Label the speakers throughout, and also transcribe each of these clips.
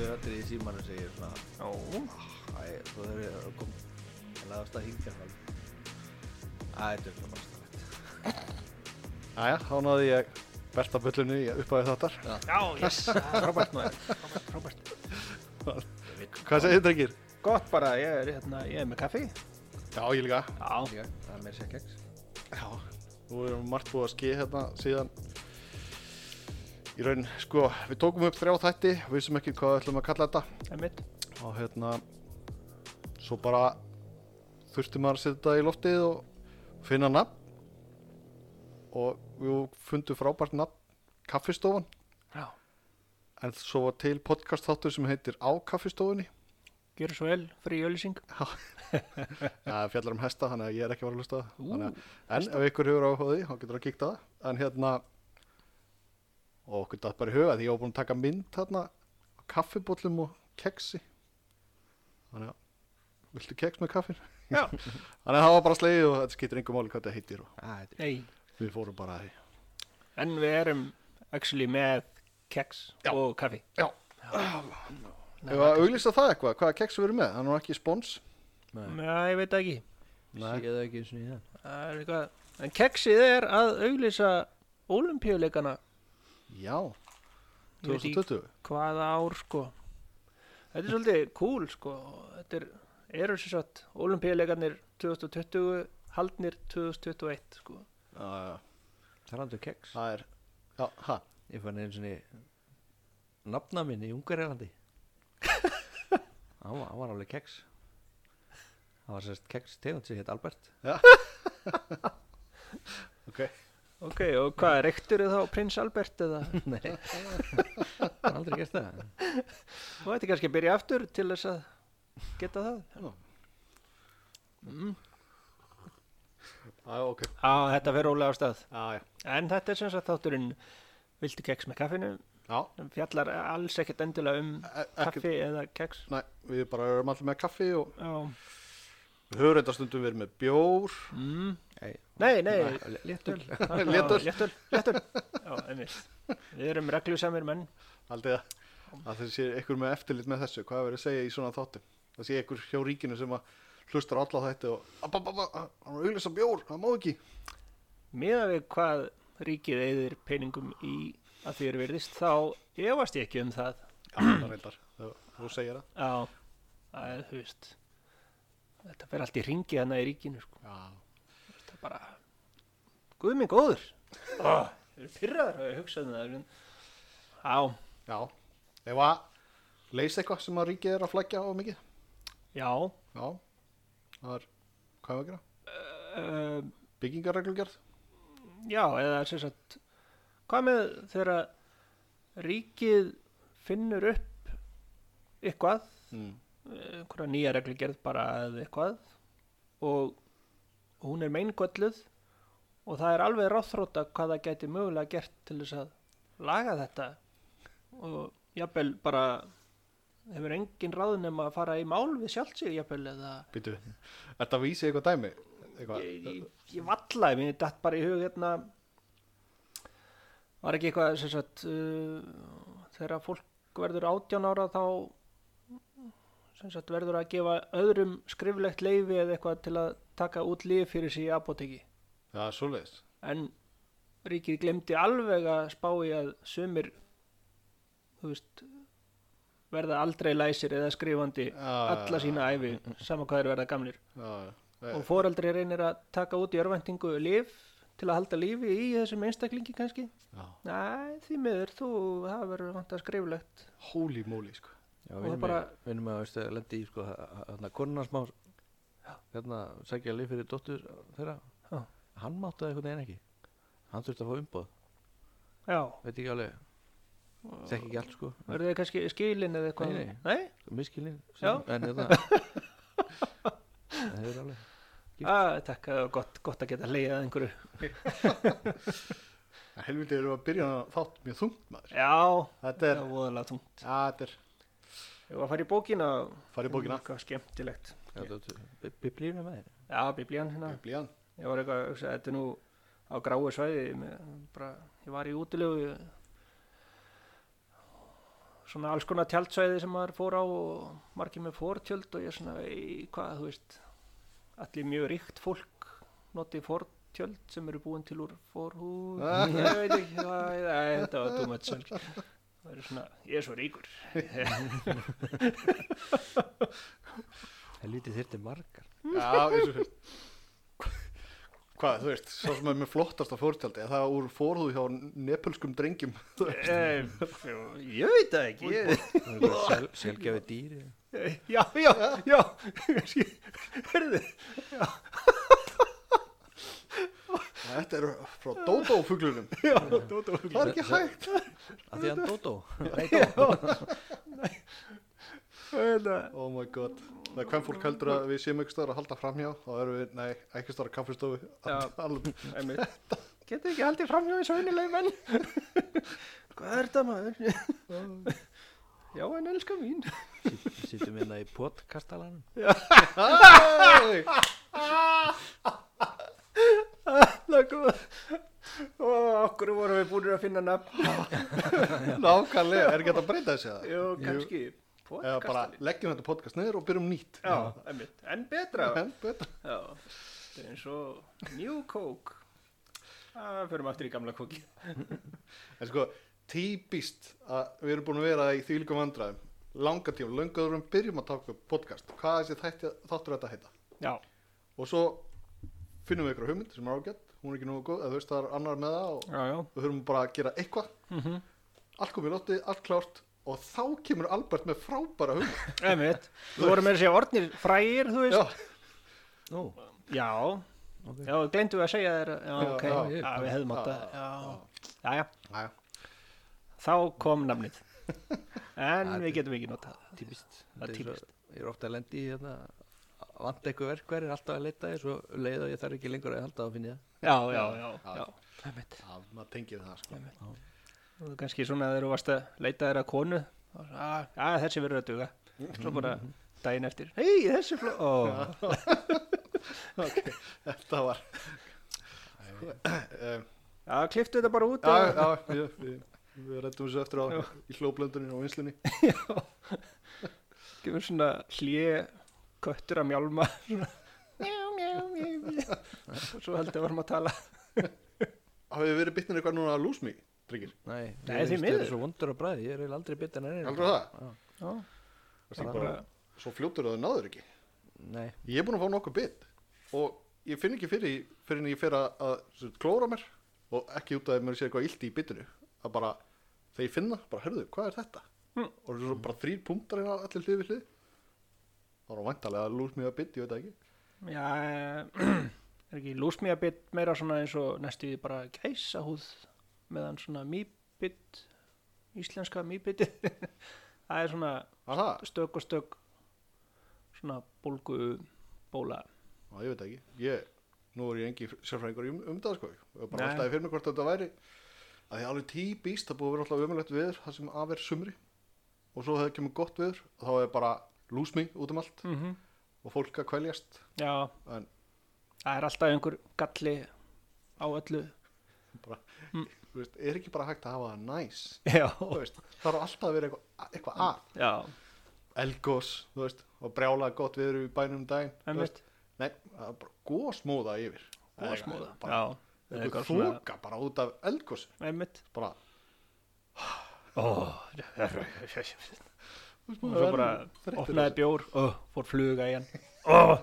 Speaker 1: símanu segir svona Æ, svo þegar ég kom að laðast að hingja hann Æ, þetta er svona bastarlegt
Speaker 2: Æja, þá náði ég besta bullinu í uppæðu þáttar.
Speaker 3: Já, yes.
Speaker 1: Frábært maður
Speaker 3: Frábært, frábært.
Speaker 2: Hvað segir þið, drengir?
Speaker 3: Gott bara, ég er, hérna, ég er með kaffi.
Speaker 2: Já, ég líka.
Speaker 3: Já.
Speaker 1: Já, það er meira sér keks
Speaker 2: Já, nú erum við margt búið að skið hérna síðan í raun, sko, við tókum upp þrjá þætti, við vissum ekki hvað við ætlum að kalla þetta
Speaker 3: Einmitt.
Speaker 2: og hérna, svo bara þurfti maður að setja þetta í loftið og finna nafn og við fundum frábært nafn, kaffistofan
Speaker 3: Já.
Speaker 2: en svo var til podcast þáttur sem heitir Á kaffistofunni
Speaker 3: Gjör svo vel, frí ölsing.
Speaker 2: Það er fjallar um hesta, þannig að ég er ekki var að hlusta á það.
Speaker 3: Ú,
Speaker 2: Þannig að- En ef ykkur hefur áhuga á því, þá getur það að kíkta það En hérna Og okkur datt bara í huga því ég var búin að taka mynd hérna á kaffibóllum og keksi Þannig að Viltu keks með kaffin?
Speaker 3: Já.
Speaker 2: Þannig að það var bara slegið og þetta skýtur engum máli hvað þetta heitir og
Speaker 1: Æ, þetta er
Speaker 3: Nei.
Speaker 2: við fórum bara að því
Speaker 3: En við erum actually með keks
Speaker 2: Já.
Speaker 3: og kaffi.
Speaker 2: Já Ef að auglýsa það eitthvað, hvaða keks við erum með? Það er nú ekki spons
Speaker 1: Nei,
Speaker 3: Já, ég veit það ekki.
Speaker 2: Nei.
Speaker 1: ég það ekki eins og í það
Speaker 3: Það er eitthvað. En keksið er að auglýsa ólimpíuleikana.
Speaker 2: Já,
Speaker 3: Ég veit ekki
Speaker 2: 2020
Speaker 3: hvaða ár, sko. Þetta er svolítið cool, sko. Þetta er, eru sér satt, ólimpíuleikanir 2020, haldnir 2021, sko.
Speaker 2: Já, já,
Speaker 1: Talandu keks
Speaker 2: Það er, já, hæ
Speaker 1: Ég fann einu svona nafna minn í Ungarilandi Hann var, hann var alveg keks Hann var sérst keks tegund sem hétt Albert
Speaker 2: Ok
Speaker 3: Ok, og hvað, reyktur þá prins Albert eða?
Speaker 1: Nei Hann aldrei gert það
Speaker 3: Þú ætti kannski að byrja aftur til þess að geta það.
Speaker 2: Já, ok
Speaker 3: Á, þetta fer rólega á stað.
Speaker 2: Já, já
Speaker 3: En þetta er sem sagt þátturinn Viltu keks með kaffinu?
Speaker 2: Já,
Speaker 3: sem Fjallar alls ekkert endilega um
Speaker 2: e- ekki,
Speaker 3: kaffi eða keks.
Speaker 2: næ, við bara erum allir með kaffi og
Speaker 3: Já.
Speaker 2: við höfum þetta stundum verið með bjór
Speaker 3: Mm.
Speaker 1: Nei,
Speaker 3: Nei, nei.
Speaker 1: Léttul
Speaker 2: Léttöl.
Speaker 3: Léttul, léttul. Já, einmitt. Við erum reglusamir menn.
Speaker 2: haldið að, að það sé ykkur með eftirlit með þessu, hvað er verið að segja í svona þáttum það sé ykkur hjá ríkinu sem að hlustar á alla þetta og "Abba, abba, abba, hann er að auglýsa bjór, það má ekki
Speaker 3: Miða við hvað ríkið eyðir peningum í að því eru virðist, þá efast ég ekki um það.
Speaker 2: Já, það reyndar, þú, þú segir það
Speaker 3: Já, það er, þú veist, þetta fer allt í ringi hana í ríkinu, sko.
Speaker 2: Já,
Speaker 3: Það er bara, guð minn góður. Oh, það eru pyrraður að hugsa um það. en- Já,
Speaker 2: já, ef að leysa eitthvað sem að ríkið er að flækja á mikið
Speaker 3: já,
Speaker 2: Já, það er, hvað er að gera?
Speaker 3: uh,
Speaker 2: Byggingarreglugjörð?
Speaker 3: já, eða sem sagt, hvað með þegar ríkið finnur upp eitthvað,
Speaker 2: Mm.
Speaker 3: einhverja nýja reglugerð bara eða eitthvað og hún er meingölluð og það er alveg ráþróta hvað það gæti mögulega gert til þess að laga þetta og jafnvel bara hefur engin ráðnum að fara í mál við sjálft sig jafnvel eða
Speaker 2: Býtu, er þetta að vísi eitthvað dæmi? Eitthvað?
Speaker 3: ég, ég, ég vallaði, mér datt bara í hug hérna var ekki eitthvað sem sagt uh, þegar fólk verður 18 ára þá sem sagt verður að gefa öðrum skriflegt leifi eða eitthvað til að taka út líf fyrir sig í apoteki
Speaker 2: Já, svoleiðis
Speaker 3: en ríkið glemdi alveg að spá í að sumir þú veist verða aldrei læsir eða skrifandi alla sína æfi, sama hvað þeir verða gamlir
Speaker 2: Já, já,
Speaker 3: og foreldri reynir að taka út í örvæntingu lif til að halda lífi í þessum einstaklingi kannski
Speaker 2: já.
Speaker 3: Nei, því miður, þú, það verður vant að skriflegt
Speaker 2: Holy moly, sko.
Speaker 1: Já,
Speaker 3: Og það
Speaker 1: vinnum bara...
Speaker 3: bara-
Speaker 1: við að veist, lendi í sko, hérna konuna smá hérna sækja leið fyrir dóttur þeirra
Speaker 3: Já.
Speaker 1: hann mátti það einhvern veginn ekki hann þurfti að fá umboð,
Speaker 3: Já,
Speaker 1: veit ekki alveg þekki ekki allt sko,
Speaker 3: verður þið kannski skilin eða eitthvað
Speaker 1: Nei, nei. miskilin
Speaker 3: Já.
Speaker 1: en hérna það hefur alveg
Speaker 3: Ah, takk, það var gott, gott að geta leiðið að einhverju
Speaker 2: En helviti erum við að byrja að þátt mjög þungt, maður.
Speaker 3: Já,
Speaker 2: Þetta
Speaker 3: það
Speaker 2: er,
Speaker 3: var voðalega tungt
Speaker 2: já, þetta er,
Speaker 3: Ég var að fara í bókina
Speaker 2: farið bókina,
Speaker 3: Eitthvað skemmtilegt
Speaker 1: Já, þú- biblíuna með þér
Speaker 3: Já, biblían hérna
Speaker 2: blíðan.
Speaker 3: Ég var eitthvað, að hugsa, þetta er nú á gráu svæði, með, bara, ég var í útilegu, svona alls konar tjaldsvæði sem maður fór á og margir með fórtjöld og ég svona í hvað, þú veist allir mjög ríkt fólk notið fórtjöld sem eru búin til úr fórhúð ég veit ekki, hvað, æ, þetta var too much sko. það er svona, ég er svo ríkur
Speaker 4: Það lítið þyrti margar.
Speaker 2: Já, eins og fyrst Hvað, þú veist, sá sem er með flottasta fórtjaldi Það var úr fórhúðu hjá nepulskum drengjum
Speaker 3: Eh, ég veit það ekki ég,
Speaker 4: Það er sel, selgjafi dýri.
Speaker 3: já, já, já hörðu
Speaker 2: Þetta er frá Dódó-fuglunum
Speaker 3: já, Dótó
Speaker 2: Það er ekki hægt
Speaker 4: Að því hann Dótó.
Speaker 3: Þetta-
Speaker 2: Oh my god Það er hvern fólk heldur að við séum ekki staðar að halda framhjá Þá erum við, nei, ekki staðar að kaffistofu að
Speaker 3: Já.
Speaker 2: tala um
Speaker 3: einmitt. getur ekki haldið framhjá þessu venjulegu menn hvað er þetta maður já, en elska mín
Speaker 4: Sýttum hérna í podkastalanum.
Speaker 2: Æ,
Speaker 3: Laku. og okkur vorum við búin að finna nafn
Speaker 2: Nákvæmlega, er ekki hægt að breyta þessi það?
Speaker 3: jú, kannski
Speaker 2: Eða bara
Speaker 3: podcastalinn
Speaker 2: leggjum þetta podcast niður og byrjum nýtt
Speaker 3: já, einmitt, en betra
Speaker 2: En betra
Speaker 3: já, þetta er eins og New Coke að förum aftur í gamla kóki
Speaker 2: En sko, típist að við erum búin að vera í því líka vandræðum langa tíma, langaður um byrjum að taka upp podcast hvað þessi þætti, þáttur þetta heita
Speaker 3: já,
Speaker 2: og svo finnum við ykkur hugmynd sem er ágætt, hún er ekki nógu góð eða þú veist það er annar með það og
Speaker 3: já, já
Speaker 2: við höfum bara að gera eitthvað
Speaker 3: Mhm.
Speaker 2: allt komið í lotti, allt klárt og þá kemur Albert með frábæra hugmynd
Speaker 3: Einmitt, þú voru með þessi orðnir frægir, þú veist.
Speaker 2: Já,
Speaker 4: Nú,
Speaker 3: Já, já,
Speaker 4: ok.
Speaker 3: já gleyndu að segja þér, já,
Speaker 2: Já,
Speaker 3: ok,
Speaker 2: já,
Speaker 3: já,
Speaker 4: ég-
Speaker 3: við hefðum átt að,
Speaker 2: Já,
Speaker 3: já, já, já,
Speaker 2: Næja.
Speaker 3: þá kom namnið. En
Speaker 4: Já,
Speaker 3: við getum ekki notað. það.
Speaker 4: Típist.
Speaker 3: Það er
Speaker 4: Þetta er svo- Ég er ofta að lendi í hérna, vant eitthvað verkværi, alltaf að leita því, svo leið og ég þarf ekki lengur að halda að finna það.
Speaker 3: Já, já, já,
Speaker 2: Já,
Speaker 3: já,
Speaker 2: já.
Speaker 3: einmitt.
Speaker 2: Já, maður tengir það sko
Speaker 3: Og kannski svona þegar þú varst að leita þér að konu, þá svo, "Ah, já, þessi verður að duga. Svo bara daginn eftir, hei, þessi fló, ó,
Speaker 2: Ok, Þetta var Um,
Speaker 3: já, kliftu þetta bara út.
Speaker 2: Já,
Speaker 3: og-
Speaker 2: já, við, við, við rættum þessu eftir á
Speaker 3: Já.
Speaker 2: í hlóplöndunni og vinslunni
Speaker 3: gefur svona hlje köttur að mjálma svona, mjá, mjá, mjá, mjá. og svo heldur varum að tala
Speaker 2: Hafið þið verið bitnir eitthvað núna að lose me, drengir?
Speaker 4: Nei,
Speaker 3: Nei,
Speaker 4: ég
Speaker 3: því
Speaker 4: veist,
Speaker 3: miður.
Speaker 4: er svo vondur á bræði, ég er eiginlega aldrei betur en ennir.
Speaker 2: Aldrei það?
Speaker 4: Já.
Speaker 3: já,
Speaker 2: Varstu ekki
Speaker 3: bara,
Speaker 2: bara- Svo fljótur að þau náður ekki.
Speaker 4: Nei,
Speaker 2: Ég er búin að fá nokkuð bit og ég finn ekki fyrir, því- fyrir en ég fer að, að sem sagt, klóra mér og ekki út af að mér sé eitthvað illt í bitinu. Að bara, þegar ég finna, bara, herðu, hvað er þetta?
Speaker 3: Mm.
Speaker 2: Og það eru svo bara þrýr punktar hérna allir hlið við hlið. Það var vantarlega að lose me að bit, ég veit það ekki.
Speaker 3: já eh, er ekki lúsmíabit meira svona eins og næstu því bara gæsahúð meðan svona mýbit íslenska mýbiti það er svona
Speaker 2: Að það?
Speaker 3: stök og stök svona bólgu bóla
Speaker 2: Já, ég veit það ekki. Ég, nú er ég engi sérfræðingur um, um það, sko. Ég var bara
Speaker 3: Nei.
Speaker 2: alltaf fyrir mig hvort þetta væri. Að því alveg típist, það búið að vera alltaf ömulegt viður, það sem af er sumri. Og svo hefði kemur gott viður, og þá er bara lose me út um allt
Speaker 3: mm
Speaker 2: og fólk að kvæljast.
Speaker 3: já,
Speaker 2: En
Speaker 3: það er alltaf einhver galli á öllu
Speaker 2: bara, þú veist, er ekki bara hægt að hafa það næs.
Speaker 3: já,
Speaker 2: Þú veist, það þarf alltaf að vera eitthvað
Speaker 3: Mm.
Speaker 2: eitthvað að.
Speaker 3: já,
Speaker 2: Elgós, þú veist, og brjála gott viður í bænum um daginn. þú
Speaker 3: einmitt
Speaker 2: veist. Nei, það er bara gósmóða yfir.
Speaker 3: góðsmóða
Speaker 2: Bara,
Speaker 3: já, eða
Speaker 2: eitthvað
Speaker 3: svona-
Speaker 2: þóka bara út af elgósi.
Speaker 3: einmitt
Speaker 2: Bara,
Speaker 3: oh. og svo bara opnaði bjór og fór fluga í hann oh.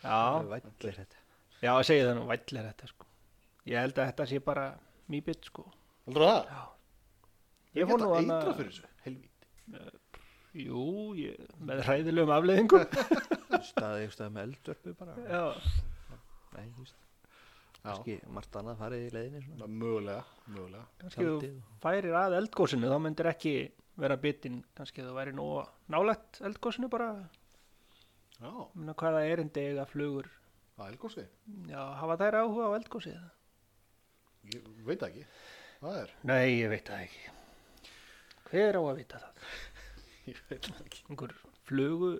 Speaker 4: það er
Speaker 3: já,
Speaker 4: vætlir þetta.
Speaker 3: já, ég segi það nú vællir þetta sko. ég held að þetta sé bara mýbit sko
Speaker 2: Heldur það?
Speaker 3: ég fór nú hann
Speaker 2: eitra
Speaker 3: að
Speaker 2: fyrir þessu, helvíti.
Speaker 3: jú, ég, með hræðilegum afleiðingum
Speaker 4: Staðið ykkur staðið með eldvörpu bara.
Speaker 3: já,
Speaker 4: Nei, þú veist,
Speaker 2: Já,
Speaker 4: kannski margt annað farið í leiðinni svona.
Speaker 2: mögulega, mögulega.
Speaker 3: kannski þú
Speaker 4: Tjaldið og-
Speaker 3: færir að eldgósinu þá myndir ekki vera bitinn kannski þú væri nú nálægt eldgósinu bara
Speaker 2: Já,
Speaker 3: Muna, hvaða erindi eiga flugur
Speaker 2: það er elgósi.
Speaker 3: já, hafa þær áhuga á eldgósið
Speaker 2: Ég veit það ekki. Það er,
Speaker 3: nei, ég veit það ekki hver á að vita það
Speaker 2: ég veit það ekki.
Speaker 3: einhver flugu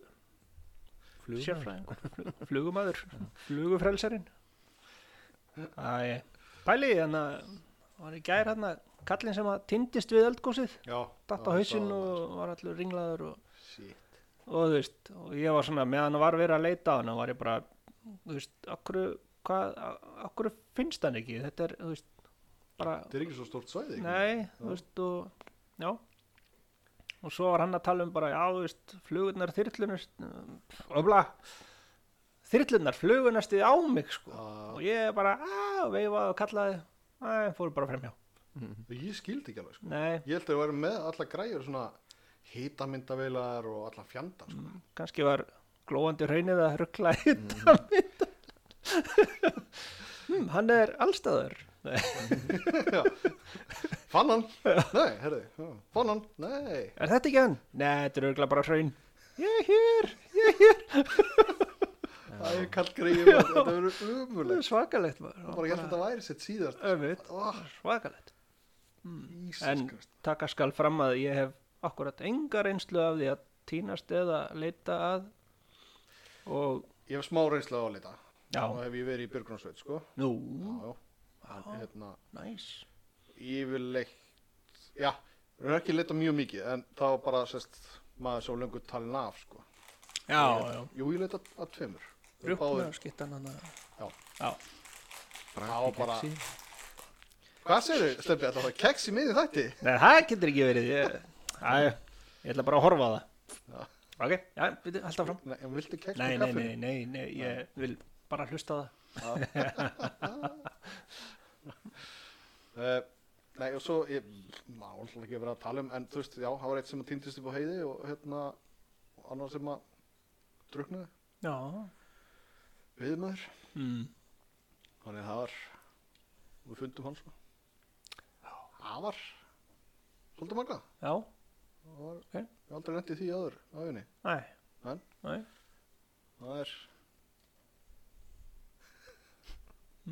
Speaker 4: Flugmaður.
Speaker 3: sérfræðingur, flug- flugumæður flugufrelserinn Æ, pæli þannig að Það var í gær hérna kallinn sem að tindist við eldgósið
Speaker 2: Já,
Speaker 3: datt á hausinn og var allur ringlaður og,
Speaker 2: Shit,
Speaker 3: og þú veist, og ég var svona meðan hann var verið að leita á hann var ég bara, þú veist, okkur hvað, okkur finnst hann ekki þetta er, þú veist, bara
Speaker 2: þetta er ekki svo stórt svæði ekki?
Speaker 3: nei, þú veist, og já og svo var hann að tala um bara, já, þú veist flugurnar þyrlunar öfla þyrlunar flugurnar stiði á mig, sko
Speaker 2: Já.
Speaker 3: og ég bara, að, veifaði og kallaði að, fóru bara fremjá
Speaker 2: Ég skildi ekki alveg sko.
Speaker 3: nei,
Speaker 2: Ég held að ég væri með alla græjur svona hitamyndavilar og alla fjandan sko.
Speaker 3: kannski var glóandi hraunið að ruggla
Speaker 2: Mm.
Speaker 3: hittan hmm, hann er allstæður er
Speaker 2: Fann hann? Nei, herði, já. fann hann? Nei
Speaker 3: þetta ekki hann? Nei, þetta er ruggla bara hraun ég er hér, ég er hér
Speaker 2: Það er kallt greiði, þetta verður
Speaker 3: Það
Speaker 2: umulegt
Speaker 3: er svakalegt maður.
Speaker 2: Bara hérna. ég held að þetta væri sitt síðast
Speaker 3: Öfugt.
Speaker 2: oh,
Speaker 3: svakalegt en
Speaker 2: Jesus Christ
Speaker 3: taka skal fram að ég hef akkurat enga reynslu af því að týnast eða leita að og
Speaker 2: Ég hef smá reynsla á að lita
Speaker 3: Já.
Speaker 2: Þá hef ég verið í Björgrunarsveit sko
Speaker 3: nú,
Speaker 2: Já, já En hérna
Speaker 3: næs
Speaker 2: yfirleitt já, við erum ekki leitað mjög mikið en það var bara sest, maður svo lengur talin af sko.
Speaker 3: já, já,
Speaker 2: jú, ég leitað að tveimur Við
Speaker 3: rúkna
Speaker 2: báðum-
Speaker 3: skittan hann að-
Speaker 2: Já.
Speaker 3: já,
Speaker 2: það var bara hvað segir þau, Steppi, þetta var keks í miðið þætti
Speaker 3: Nei, það getur ekki verið ég, að, ég ætla bara að horfa á
Speaker 2: Já.
Speaker 3: það Ok, já, byrju, haldið áfram
Speaker 2: nei, en viltu keks
Speaker 3: Nei,
Speaker 2: með
Speaker 3: nei,
Speaker 2: kaffi?
Speaker 3: nei, nei, nei, ég vil bara hlusta á það
Speaker 2: Uh, nei, og svo ég, má alltaf ekki verið að tala um en þú veist, já, það var eitt sem að týndist upp á heiði og hérna, og annar sem að druknaði,
Speaker 3: Já
Speaker 2: viðmaður
Speaker 3: mm.
Speaker 2: þannig að það var við fundum hann svo það var svolítið magnað
Speaker 3: Já,
Speaker 2: Það var,
Speaker 3: Ok.
Speaker 2: Ég hef aldrei lendið því áður á henni.
Speaker 3: nei,
Speaker 2: En?
Speaker 3: nei
Speaker 2: Það er...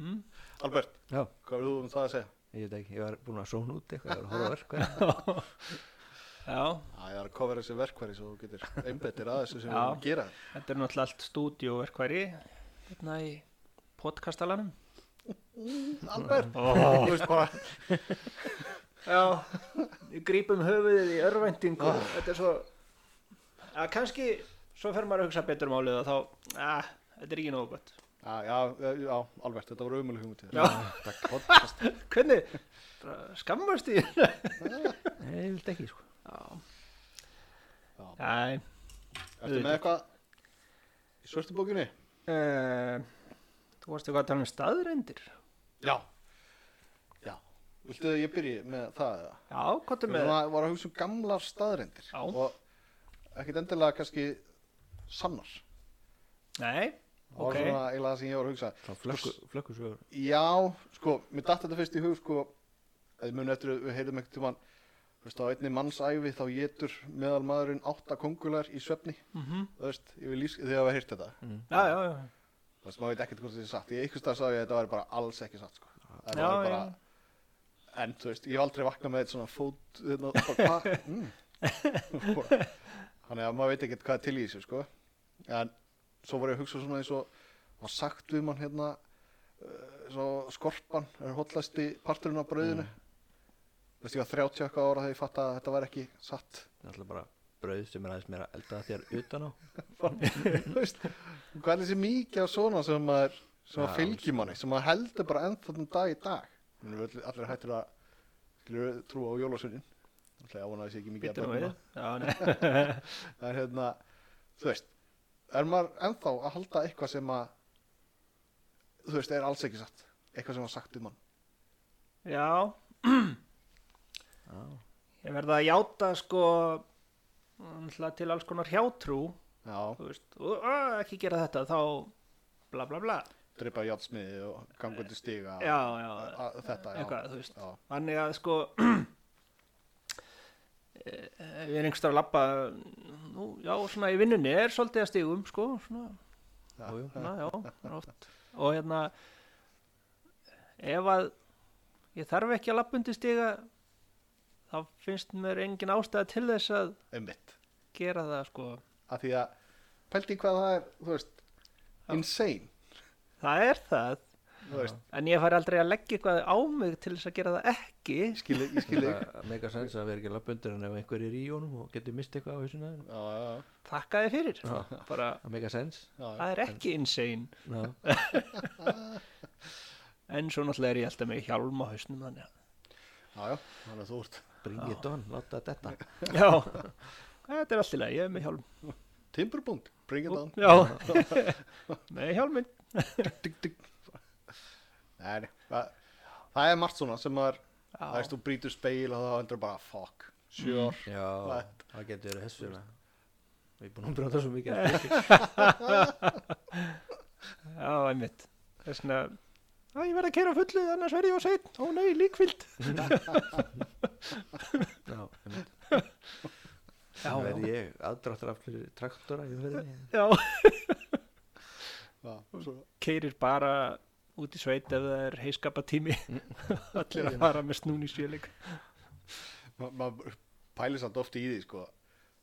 Speaker 3: mm.
Speaker 2: Albert,
Speaker 4: Já.
Speaker 2: hvað er þú um það að segja?
Speaker 4: Ég veit ekki, ég var búin að sóna út eitthvað, ég var að horfa á verkværi
Speaker 3: Já,
Speaker 2: Æ, það er að kofra þessi verkværi svo þú getur einbettir að þessu sem
Speaker 3: Já.
Speaker 2: við erum að gera.
Speaker 3: þetta er náttúrulega allt stúdíóverkværi hérna í podcastalanum
Speaker 2: Albert,
Speaker 3: oh.
Speaker 2: þú veist bara,
Speaker 3: Já, ég grípum höfuðið í örvendingu Þetta er svo að kannski, svo fer maður að hugsa betur um málið og þá, að, þetta er ekki nógu gott
Speaker 2: já, já, já, Albert, þetta voru umulig hugmyndið.
Speaker 3: Já.
Speaker 2: Þetta podcast.
Speaker 3: Hvernig? Bara Skammast því
Speaker 4: Nei, ég veit ekki, sko
Speaker 2: Já.
Speaker 3: Æ,
Speaker 2: Ertu með eitthvað í svörtu bókinni?
Speaker 3: uh, Þú varst eitthvað að tala um staðrendir
Speaker 2: Já. Já. Viltu að ég byrji með það eða?
Speaker 3: Já, hvað er með
Speaker 2: Við varum að hugsa um gamlar staðrendir.
Speaker 3: Já.
Speaker 2: Og ekkit endilega kannski sannar.
Speaker 3: Nei,
Speaker 2: Það var
Speaker 3: Ok.
Speaker 2: svona eiginlega það sem ég var að hugsa.
Speaker 4: Þá flökku, flökku svo
Speaker 2: Já, sko, mér datt þetta fyrst í hug, sko, eða mun eftir að við heyrðum ekkert tímann, þú veist, á einni mannsæfi þá getur meðal maðurinn átta kongular í svefni,
Speaker 3: mm -hmm.
Speaker 2: þú veist, ég vil lýsa þegar við heyrt þetta.
Speaker 3: já, já, já
Speaker 2: Það sem maður veit ekkert hvort þetta er satt. Ég einhvers dag sagði ég að þetta væri bara alls ekki satt, sko. Það
Speaker 3: Já,
Speaker 2: var bara, en þú veist, ég hef aldrei vaknað með eitt svona fót, hérna, bara hvað, mm. Bara- Þannig að maður veit ekkert hvað er til í þessu, sko. En svo var ég að hugsa svona eins og, var sagt við mann hérna, uh, svo skorpan er hotlasti parturinn á brauðinu.
Speaker 3: Mm.
Speaker 2: Þú veist, ég var 30 eitthvað ára þegar ég fatt að þetta væri ekki satt.
Speaker 4: Það er alltaf bara brauð sem er aðeins meira eldað þér utan á
Speaker 2: Þú veist, hvað er þessi mikið af svona sem maður, sem maður
Speaker 4: Já,
Speaker 2: fylgir manni, sem maður heldur bara ennþáttum dag í dag. Þannig við öll- allir hættir að skilur trúa á jólasunnin. Þannig að það sé ekki mikið
Speaker 3: Býttu nú
Speaker 2: börnum
Speaker 3: við Já, nei
Speaker 2: Það er hérna, þú veist, er maður ennþá að halda eitthvað sem að, þú veist, er alls ekki satt. Eitthvað sem var sagt um mann.
Speaker 3: Já
Speaker 4: Já,
Speaker 3: Ég verða að játa sko náttúrulega til alls konar hjátrú
Speaker 2: Já,
Speaker 3: þú veist, og að, ekki gera þetta þá bla bla bla
Speaker 2: dreipa játsmiði og ganga til stiga.
Speaker 3: Já, já,
Speaker 2: að- að- Þetta, já.
Speaker 3: eitthvað, þú veist
Speaker 2: Já,
Speaker 3: Þannig að sko eh, ef ég er einhverstað að labba nú, já, svona í vinnunni er svolítið að stigum, sko svona,
Speaker 2: já,
Speaker 4: jú, jú.
Speaker 3: svona Hérna, já, það er oft og hérna ef að ég þarf ekki að labba undir stiga þá finnst mér engin ástæða til þess að
Speaker 2: einmitt.
Speaker 3: gera það, sko
Speaker 2: Af því að, pælti hvað það er, þú veist, insane.
Speaker 3: það er það
Speaker 2: þú veist,
Speaker 3: en ég fær aldrei að leggja eitthvað á mig til þess að gera það ekki
Speaker 2: ég skil, ég skil ekki.
Speaker 4: mega sens að vera ekki labbundur en ef einhver er í honum og getur mist eitthvað á hausuna þér.
Speaker 2: Já, já, já,
Speaker 3: þakka þið fyrir bara,
Speaker 4: það mega sens
Speaker 2: já,
Speaker 3: það er ekki insane
Speaker 4: Já.
Speaker 3: en svo náttúrulega er ég alltaf með hjálm á hausnum þannig að-
Speaker 2: já, já, þannig að þú ert
Speaker 4: bring it on, láta þetta
Speaker 3: já, þetta er allt í lagi ég er með hjálm
Speaker 2: timburbúnd, bring it on.
Speaker 3: já, með hjálminn
Speaker 2: Dygg, dygg. Nei, nei, það, það er margt svona sem maður, það
Speaker 3: já,
Speaker 2: veist, þú brýtur speil og þá endur bara, fuck, sure.
Speaker 4: já,
Speaker 2: What?
Speaker 4: það getur verið þessu við erum búin að brjóta svo mikið af fólki.
Speaker 3: já, einmitt þess vegna að ég verð að kera fullu annars verð ég á sein, ó nei, líkvild
Speaker 4: já, einmitt.
Speaker 3: já,
Speaker 4: Nú
Speaker 3: já,
Speaker 4: verð ég aðdráttur af fyrir traktora í umferðinni.
Speaker 3: já
Speaker 2: Já,
Speaker 3: Mm.
Speaker 2: svo,
Speaker 3: keirir bara út í sveit ef það er heiskapa tími allir að fara með snúni sjöleik
Speaker 2: ma- maður pælir samt oft í því, sko.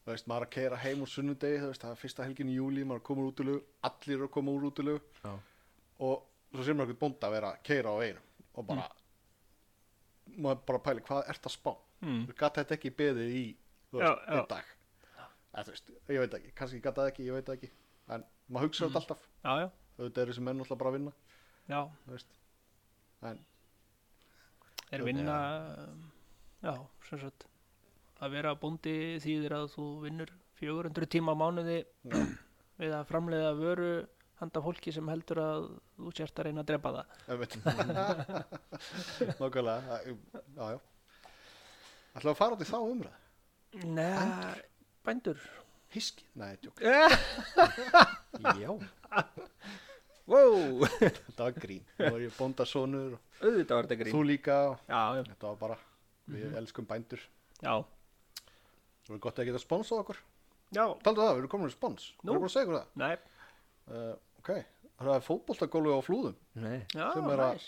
Speaker 2: Þú veist, maður er að keira heim úr sunnudegi, þú veist, það er fyrsta helgin í júli, maður er komur út í lögu, allir eru að koma úr út í lögu.
Speaker 4: Já.
Speaker 2: og svo sér maður eitthvað bónda að vera að keira á veginum og bara maður bara pæli hvað ert að spá
Speaker 3: Mm.
Speaker 2: þú gatt þetta ekki beðið í þú
Speaker 3: Já,
Speaker 2: veist,
Speaker 3: já.
Speaker 2: einn dag eða þú veist, ég veit ekki, kannski gatt það ekki, ég veit það ekki en maður hugsa
Speaker 3: Hmm.
Speaker 2: þetta alltaf
Speaker 3: já, já,
Speaker 2: auðvitað eru þessi menn alltaf bara að vinna
Speaker 3: já,
Speaker 2: þú veist. en
Speaker 3: er vinna já, sem sagt að vera bóndi þýðir að þú vinnur 400 tíma á mánuði við að framleiða vöru handa fólki sem heldur að þú sért að reyna að drepa það
Speaker 2: ef veit nákvæmlega já, já ætlaðu að fara út í þá umræð
Speaker 3: Nei, bændur
Speaker 2: hiski, nei, djók,
Speaker 4: já,
Speaker 3: wow,
Speaker 2: þetta var grín nú er ég bóndasonur og
Speaker 3: auðvitað var þetta grín
Speaker 2: þú líka og
Speaker 3: já, já,
Speaker 2: þetta var bara, við
Speaker 3: Mhm.
Speaker 2: elskum bændur
Speaker 3: já,
Speaker 2: Það verður gott að geta sponsað okkur.
Speaker 3: já
Speaker 2: Taldu það, við erum komin í spons.
Speaker 3: Nú.
Speaker 2: Við erum bara að segja ykkur það.
Speaker 3: nei,
Speaker 2: Uh, ok, það er fótboltagólfi á flúðum.
Speaker 4: nei,
Speaker 3: já,
Speaker 2: Sem er að-
Speaker 3: næs,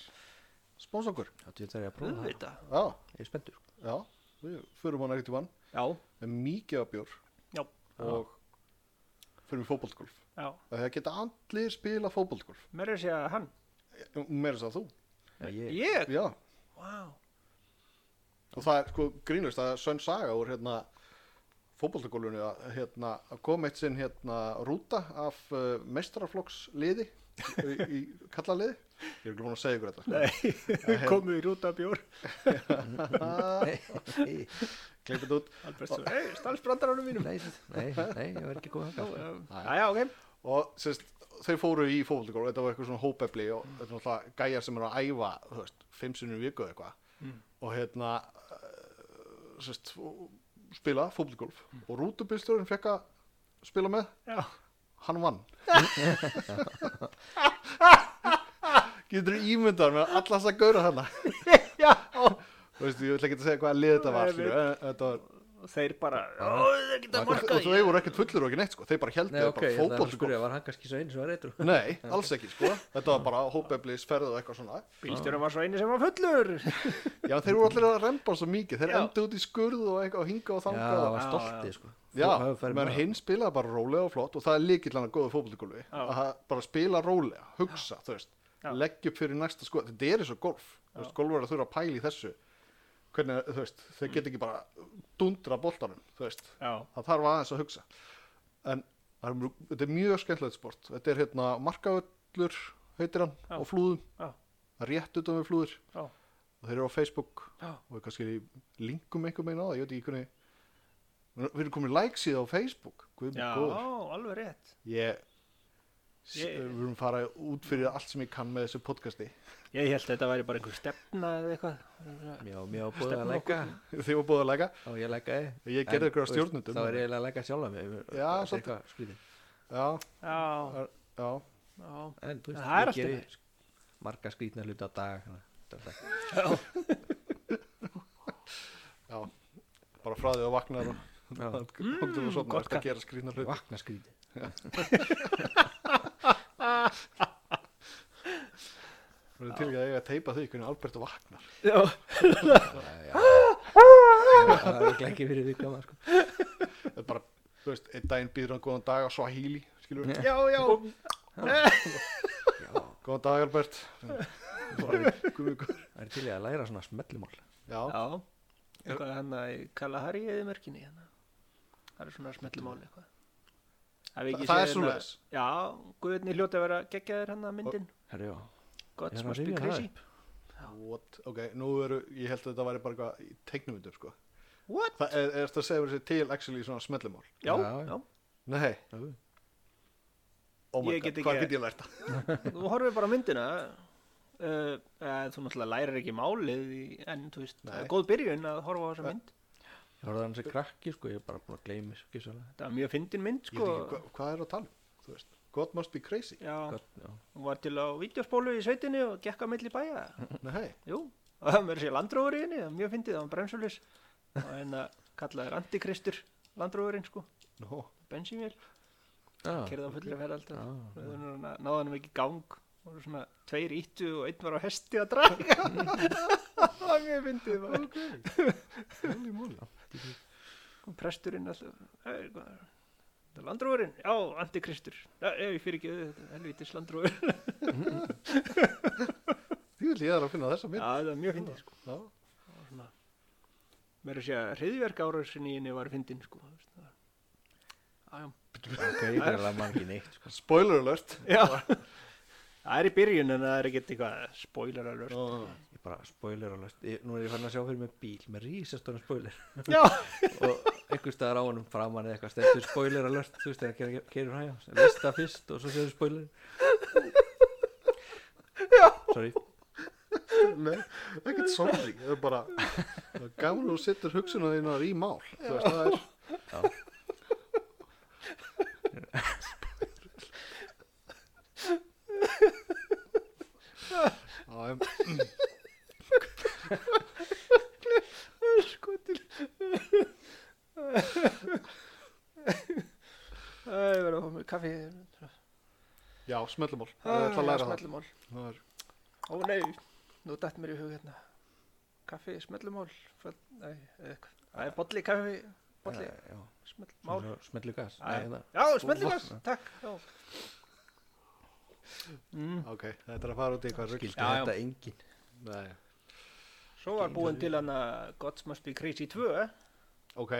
Speaker 2: Spons okkur.
Speaker 4: þá tjóttar ég að prófa það
Speaker 3: auðvitað
Speaker 2: Já,
Speaker 4: ég er spenntur
Speaker 2: já, við förum hann ekkert í vann.
Speaker 3: já,
Speaker 2: Við erum mikið af bjór
Speaker 3: já,
Speaker 2: og förum í fótboltagólf.
Speaker 3: já,
Speaker 2: Það geta allir spila fótboltagólf.
Speaker 3: mér er að segja hann
Speaker 2: Meira þess að þú.
Speaker 4: já, ég,
Speaker 3: Ég?
Speaker 2: Já,
Speaker 3: Vá.
Speaker 2: og það er sko grínust, það er sönn saga úr hérna fótboltagólfinu að hérna, að kom eitt sinn hérna rúta af uh, mestrarflokksliði í, í kallaliði. Ég er ekki búin að segja ykkur þetta. sko.
Speaker 3: Nei, komið í rúta bjór
Speaker 2: Klipp þetta út
Speaker 3: Albert svo, hei, stalsbrandaranum mínum
Speaker 4: nei, nei, nei, ég verð ekki góð að ganga
Speaker 3: Jæja, ok
Speaker 2: og sérst, þau fóru í fótboltagólf þetta var eitthvað svona hópefli og þetta er náttúrulega gæjar sem eru að æfa þú veist, fimm sinnum í viku eða eitthvað og hérna eh, sérst, og spila fótboltagólf og rútubilstjórinn fekk að spila með
Speaker 3: Já,
Speaker 2: hann vann getur ímyndar með alla þess að gaura hana
Speaker 3: já
Speaker 2: þú veist, ég ætla ekki að segja hvaða lið þetta var,
Speaker 3: Nei,
Speaker 2: skilur, en þetta var
Speaker 3: Og þeir bara, já, þeir geta
Speaker 2: og og
Speaker 3: markað
Speaker 2: þau voru ekkert fullur og ekki neitt sko, þau bara heldur
Speaker 4: nei, ok,
Speaker 2: bara
Speaker 4: ég þarf að
Speaker 2: fótboltagólf
Speaker 4: spyrja, var hann kannski svo einu sem var reytur
Speaker 2: Nei, alls ekki sko Þetta var bara hópeflis, ferð og eitthvað svona
Speaker 3: Bílstjóra var svo eini sem var fullur
Speaker 2: Já, þeir voru allir að remba svo mikið Þeir
Speaker 3: Já.
Speaker 2: endu út í skurð og eitthvað og hinga og
Speaker 4: já, það
Speaker 2: þanga
Speaker 3: Já,
Speaker 4: var
Speaker 3: já.
Speaker 4: stoltið sko
Speaker 2: Já,
Speaker 4: Þú hafði farið
Speaker 2: menn
Speaker 4: með
Speaker 2: hinn spilaði bara rólega og flott og það er líkill hann að góða fótbollególfi
Speaker 3: Já.
Speaker 2: að það- bara spila rólega, hugsa, þú veist
Speaker 3: Já.
Speaker 2: leggja upp fyrir næsta sko, þetta er eins og golf þú veist, golfverðar þurfa að pæla í þessu hvernig, þú veist, þeir get ekki bara dundra boltanum, þú veist
Speaker 3: Já,
Speaker 2: það þarf aðeins að hugsa en það er, mjög- þetta er mjög skemmtilegt sport þetta er hérna markavöllur heitir hann
Speaker 3: Já.
Speaker 2: á flúðum
Speaker 3: Já.
Speaker 2: rétt utan við flúður
Speaker 3: já,
Speaker 2: og þeir eru á Facebook
Speaker 3: já
Speaker 2: og kannski linkum einhver meina á það ég veit ekki hvernig við erum komin like síða á Facebook Guð minn
Speaker 3: Já,
Speaker 2: góður.
Speaker 3: alveg rétt
Speaker 2: ég
Speaker 3: Ég-
Speaker 2: við erum fara út fyrir allt sem ég kann með þessu podcasti
Speaker 3: Ég held að þetta væri bara einhver stefna eða eitthvað
Speaker 4: já, mér á búið að
Speaker 3: Stefnum
Speaker 4: læka
Speaker 2: þegar ég var búið að læka
Speaker 4: og ég eh. lækaði
Speaker 2: ég gerði
Speaker 4: þá er
Speaker 2: eitthvað
Speaker 4: ég
Speaker 2: stjórnundum
Speaker 4: eiginlega að læka sjálf að mér
Speaker 2: Já, svolítið.
Speaker 4: svolítið
Speaker 2: já,
Speaker 3: Já,
Speaker 2: já,
Speaker 3: já,
Speaker 4: en
Speaker 3: En
Speaker 4: þú veist,
Speaker 3: það er
Speaker 4: ég
Speaker 3: allt í
Speaker 4: geri
Speaker 3: lagi.
Speaker 4: sk- marga skrýtna hluti á dag þannig að þetta er alltaf-
Speaker 2: já bara frá því að vakna og
Speaker 4: Já.
Speaker 2: og þú var svona
Speaker 3: Mm, gott
Speaker 2: að gera skrýna hlut
Speaker 4: vakna skrýti
Speaker 2: Þú til ekki að eiga að teipa því hvernig Albert vaknar.
Speaker 3: já
Speaker 4: það er ekki ekki fyrir því gaman sko.
Speaker 2: Það er bara, þú veist, einn daginn býður hann góðan dag á Swahili, skilur við.
Speaker 3: Já, já,
Speaker 2: Góðan dag Albert. Gummikur
Speaker 4: Það er til í að læra svona smellimál
Speaker 2: Já,
Speaker 3: Já, eitthvað hann að Kalahari eða merkinni hérna. Það er svona smellumáli eitthvað. Hafi ekki
Speaker 2: Þa- það
Speaker 3: séð
Speaker 2: er
Speaker 3: hérna-
Speaker 2: svoleiðis.
Speaker 3: Já, guðinni hljóti að vera geggjaðir hann að myndin.
Speaker 4: Herri, já
Speaker 3: Gott,
Speaker 4: Ég er
Speaker 3: smá
Speaker 4: að rifja
Speaker 3: spík
Speaker 4: það
Speaker 3: crazy.
Speaker 2: what, ok, nú eru, ég held að þetta væri bara eitthvað í teiknumyndum sko
Speaker 3: What?
Speaker 2: Það er, er þetta að segja mér sér til actually svona smellimál
Speaker 3: Já,
Speaker 4: Já,
Speaker 3: já.
Speaker 4: já.
Speaker 2: Nei,
Speaker 4: Jú.
Speaker 2: oh my
Speaker 3: Ég get
Speaker 2: god,
Speaker 3: ekki-
Speaker 2: hvað get ég lært það?
Speaker 3: Þú horfir bara á myndina. Uh, uh, þú náttúrulega lærir ekki málið í, en þú veist, það
Speaker 2: Nei.
Speaker 3: er góð byrjun að horfa á þessa
Speaker 2: Ja.
Speaker 3: mynd.
Speaker 4: Ég horfði hann sem krakki sko, ég er bara búin að gleymi svo gísalega
Speaker 3: Það var mjög fyndin mynd,
Speaker 2: Ég veit
Speaker 3: sko.
Speaker 2: ekki, hva, hvað er að tala um, þú veist God must be crazy
Speaker 3: Já,
Speaker 4: Gott, já
Speaker 3: hún var til á vídeospólu í sveitinu og gekk að milli bæja.
Speaker 2: Nei,
Speaker 3: Jú, og það mér sé landróður í henni, það er mjög fyndið, það var bremsulis. Og hérna kallaði þér antikristur landróðurinn, sko,
Speaker 2: no,
Speaker 3: bensínvél,
Speaker 4: Já,
Speaker 3: kerði á fullri ferð alltaf.
Speaker 4: já,
Speaker 3: Og það var svona- hérna, náði hann ekki gang, voru svona tveir íttu og einn var á hesti að draga. það var mjög fyndið, maður.
Speaker 2: holy moly
Speaker 3: Kom presturinn alltaf, "Hey, hvað er það? Landróðurinn, já, antikristur, já, ég fyrir ekki þetta, helvitis landróður.
Speaker 2: Því vil ég er að finna þessa mynd
Speaker 3: Já, það var mjög fyndið, sko.
Speaker 2: Já,
Speaker 3: Það var svona, mér að segja, hriðverk árásin í henni var fyndin, sko, þú veist, það var, já, já.
Speaker 4: ok, ég er alveg mann ekki neitt sko.
Speaker 2: Spoiler alert
Speaker 3: Já Það er í byrjun en það er ekkert eitthvað spoiler alert
Speaker 2: Ó,
Speaker 4: Ég bara spoiler alveg ég, Nú er ég fann að sjá fyrir mig bíl með rísastónu spoiler
Speaker 3: Já,
Speaker 4: og einhver staðar á honum framan eða eitthvað stendur spoiler alert þú veist þegar hann keirir hægjá lista fyrst og svo séður spoiler Já Sorry
Speaker 2: Nei, ekkert sorry Það er bara það er gaman að þú setur hugsunum þínar í mál Þú veist, það er Já, em,
Speaker 3: sko til Það er verið að fá mér kaffi
Speaker 2: já, smellumál Það er að læra það
Speaker 3: Ah, Smellumál
Speaker 2: Það er
Speaker 3: Ó nei, nú dætt mér í hug hérna Kaffi, smellumál föl- Nei, eða eitthvað Það er bolli kaffi, bolli,
Speaker 4: Já,
Speaker 3: smellmál
Speaker 4: Smellu gas
Speaker 3: Æ.
Speaker 4: Nei, það
Speaker 3: Já, smellingas, takk já. Mm,
Speaker 2: Ok, þetta er að fara út í eitthvað rugl
Speaker 4: Skildi
Speaker 3: Já, já.
Speaker 4: þetta engin
Speaker 2: Nei,
Speaker 3: Svo var búin til hann að Gods Must Be Crazy 2 Já,
Speaker 2: ok,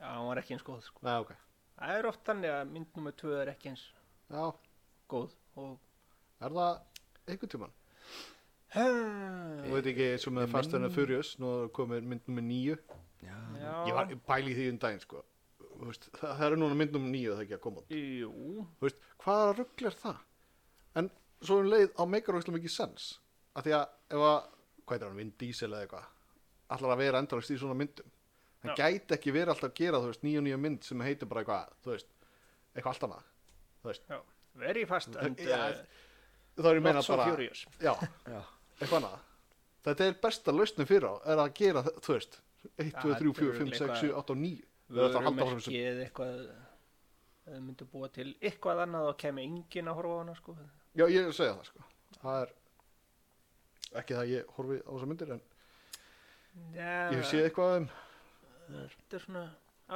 Speaker 3: hann var ekki eins góð sko.
Speaker 2: nei, ok
Speaker 3: Það er oft þannig að mynd nummer 2 er ekki eins
Speaker 2: Já,
Speaker 3: góð og
Speaker 2: er það einhvern tímann? Þú
Speaker 3: Já,
Speaker 2: veit ekki, eins og með
Speaker 4: Ég
Speaker 2: Fast and the
Speaker 4: minn-
Speaker 2: Furious Nú komið myndum með nýju
Speaker 4: Já,
Speaker 2: Ég var bæli því um daginn, sko Þú veist, Það það eru núna myndum með nýju það er ekki að koma út.
Speaker 3: Jú,
Speaker 2: Þú veist, hvaða rugl er það? En svo um leið á meikar ógislega mikið sens. Af því að ef að, hvað heitir hann, Vin Diesel eða eitthvað, allar að vera endalist í svona myndum.
Speaker 3: Já.
Speaker 2: Hann gæti ekki verið alltaf að gera, þú veist, nýja nýja mynd sem heitir bara eitthvað, þú veist, eitthvað allt annað.
Speaker 3: já, very fast and
Speaker 2: Mm. Já,
Speaker 3: uh,
Speaker 2: Það er ég meina
Speaker 3: not so
Speaker 2: bara,
Speaker 3: furious
Speaker 2: já,
Speaker 4: já
Speaker 2: eitthvað annað. Þetta er besta lausnum fyrir á, er að gera, þ- þú veist, 1,
Speaker 3: Já,
Speaker 2: 2, 3, 4,
Speaker 3: þetta er
Speaker 2: 5, 6, 7, 8 og 9. Við erum að halda á þessu.
Speaker 3: Vörumerkið eitthvað þau myndu búa til eitthvað annað og kemur enginn að horfa á hana sko.
Speaker 2: Já, ég er að segja það, sko. Það er, ekki það að ég horfi á þessar myndir, en
Speaker 3: Já,
Speaker 2: ég hef séð eitthvað af þeim.
Speaker 3: Þetta er svona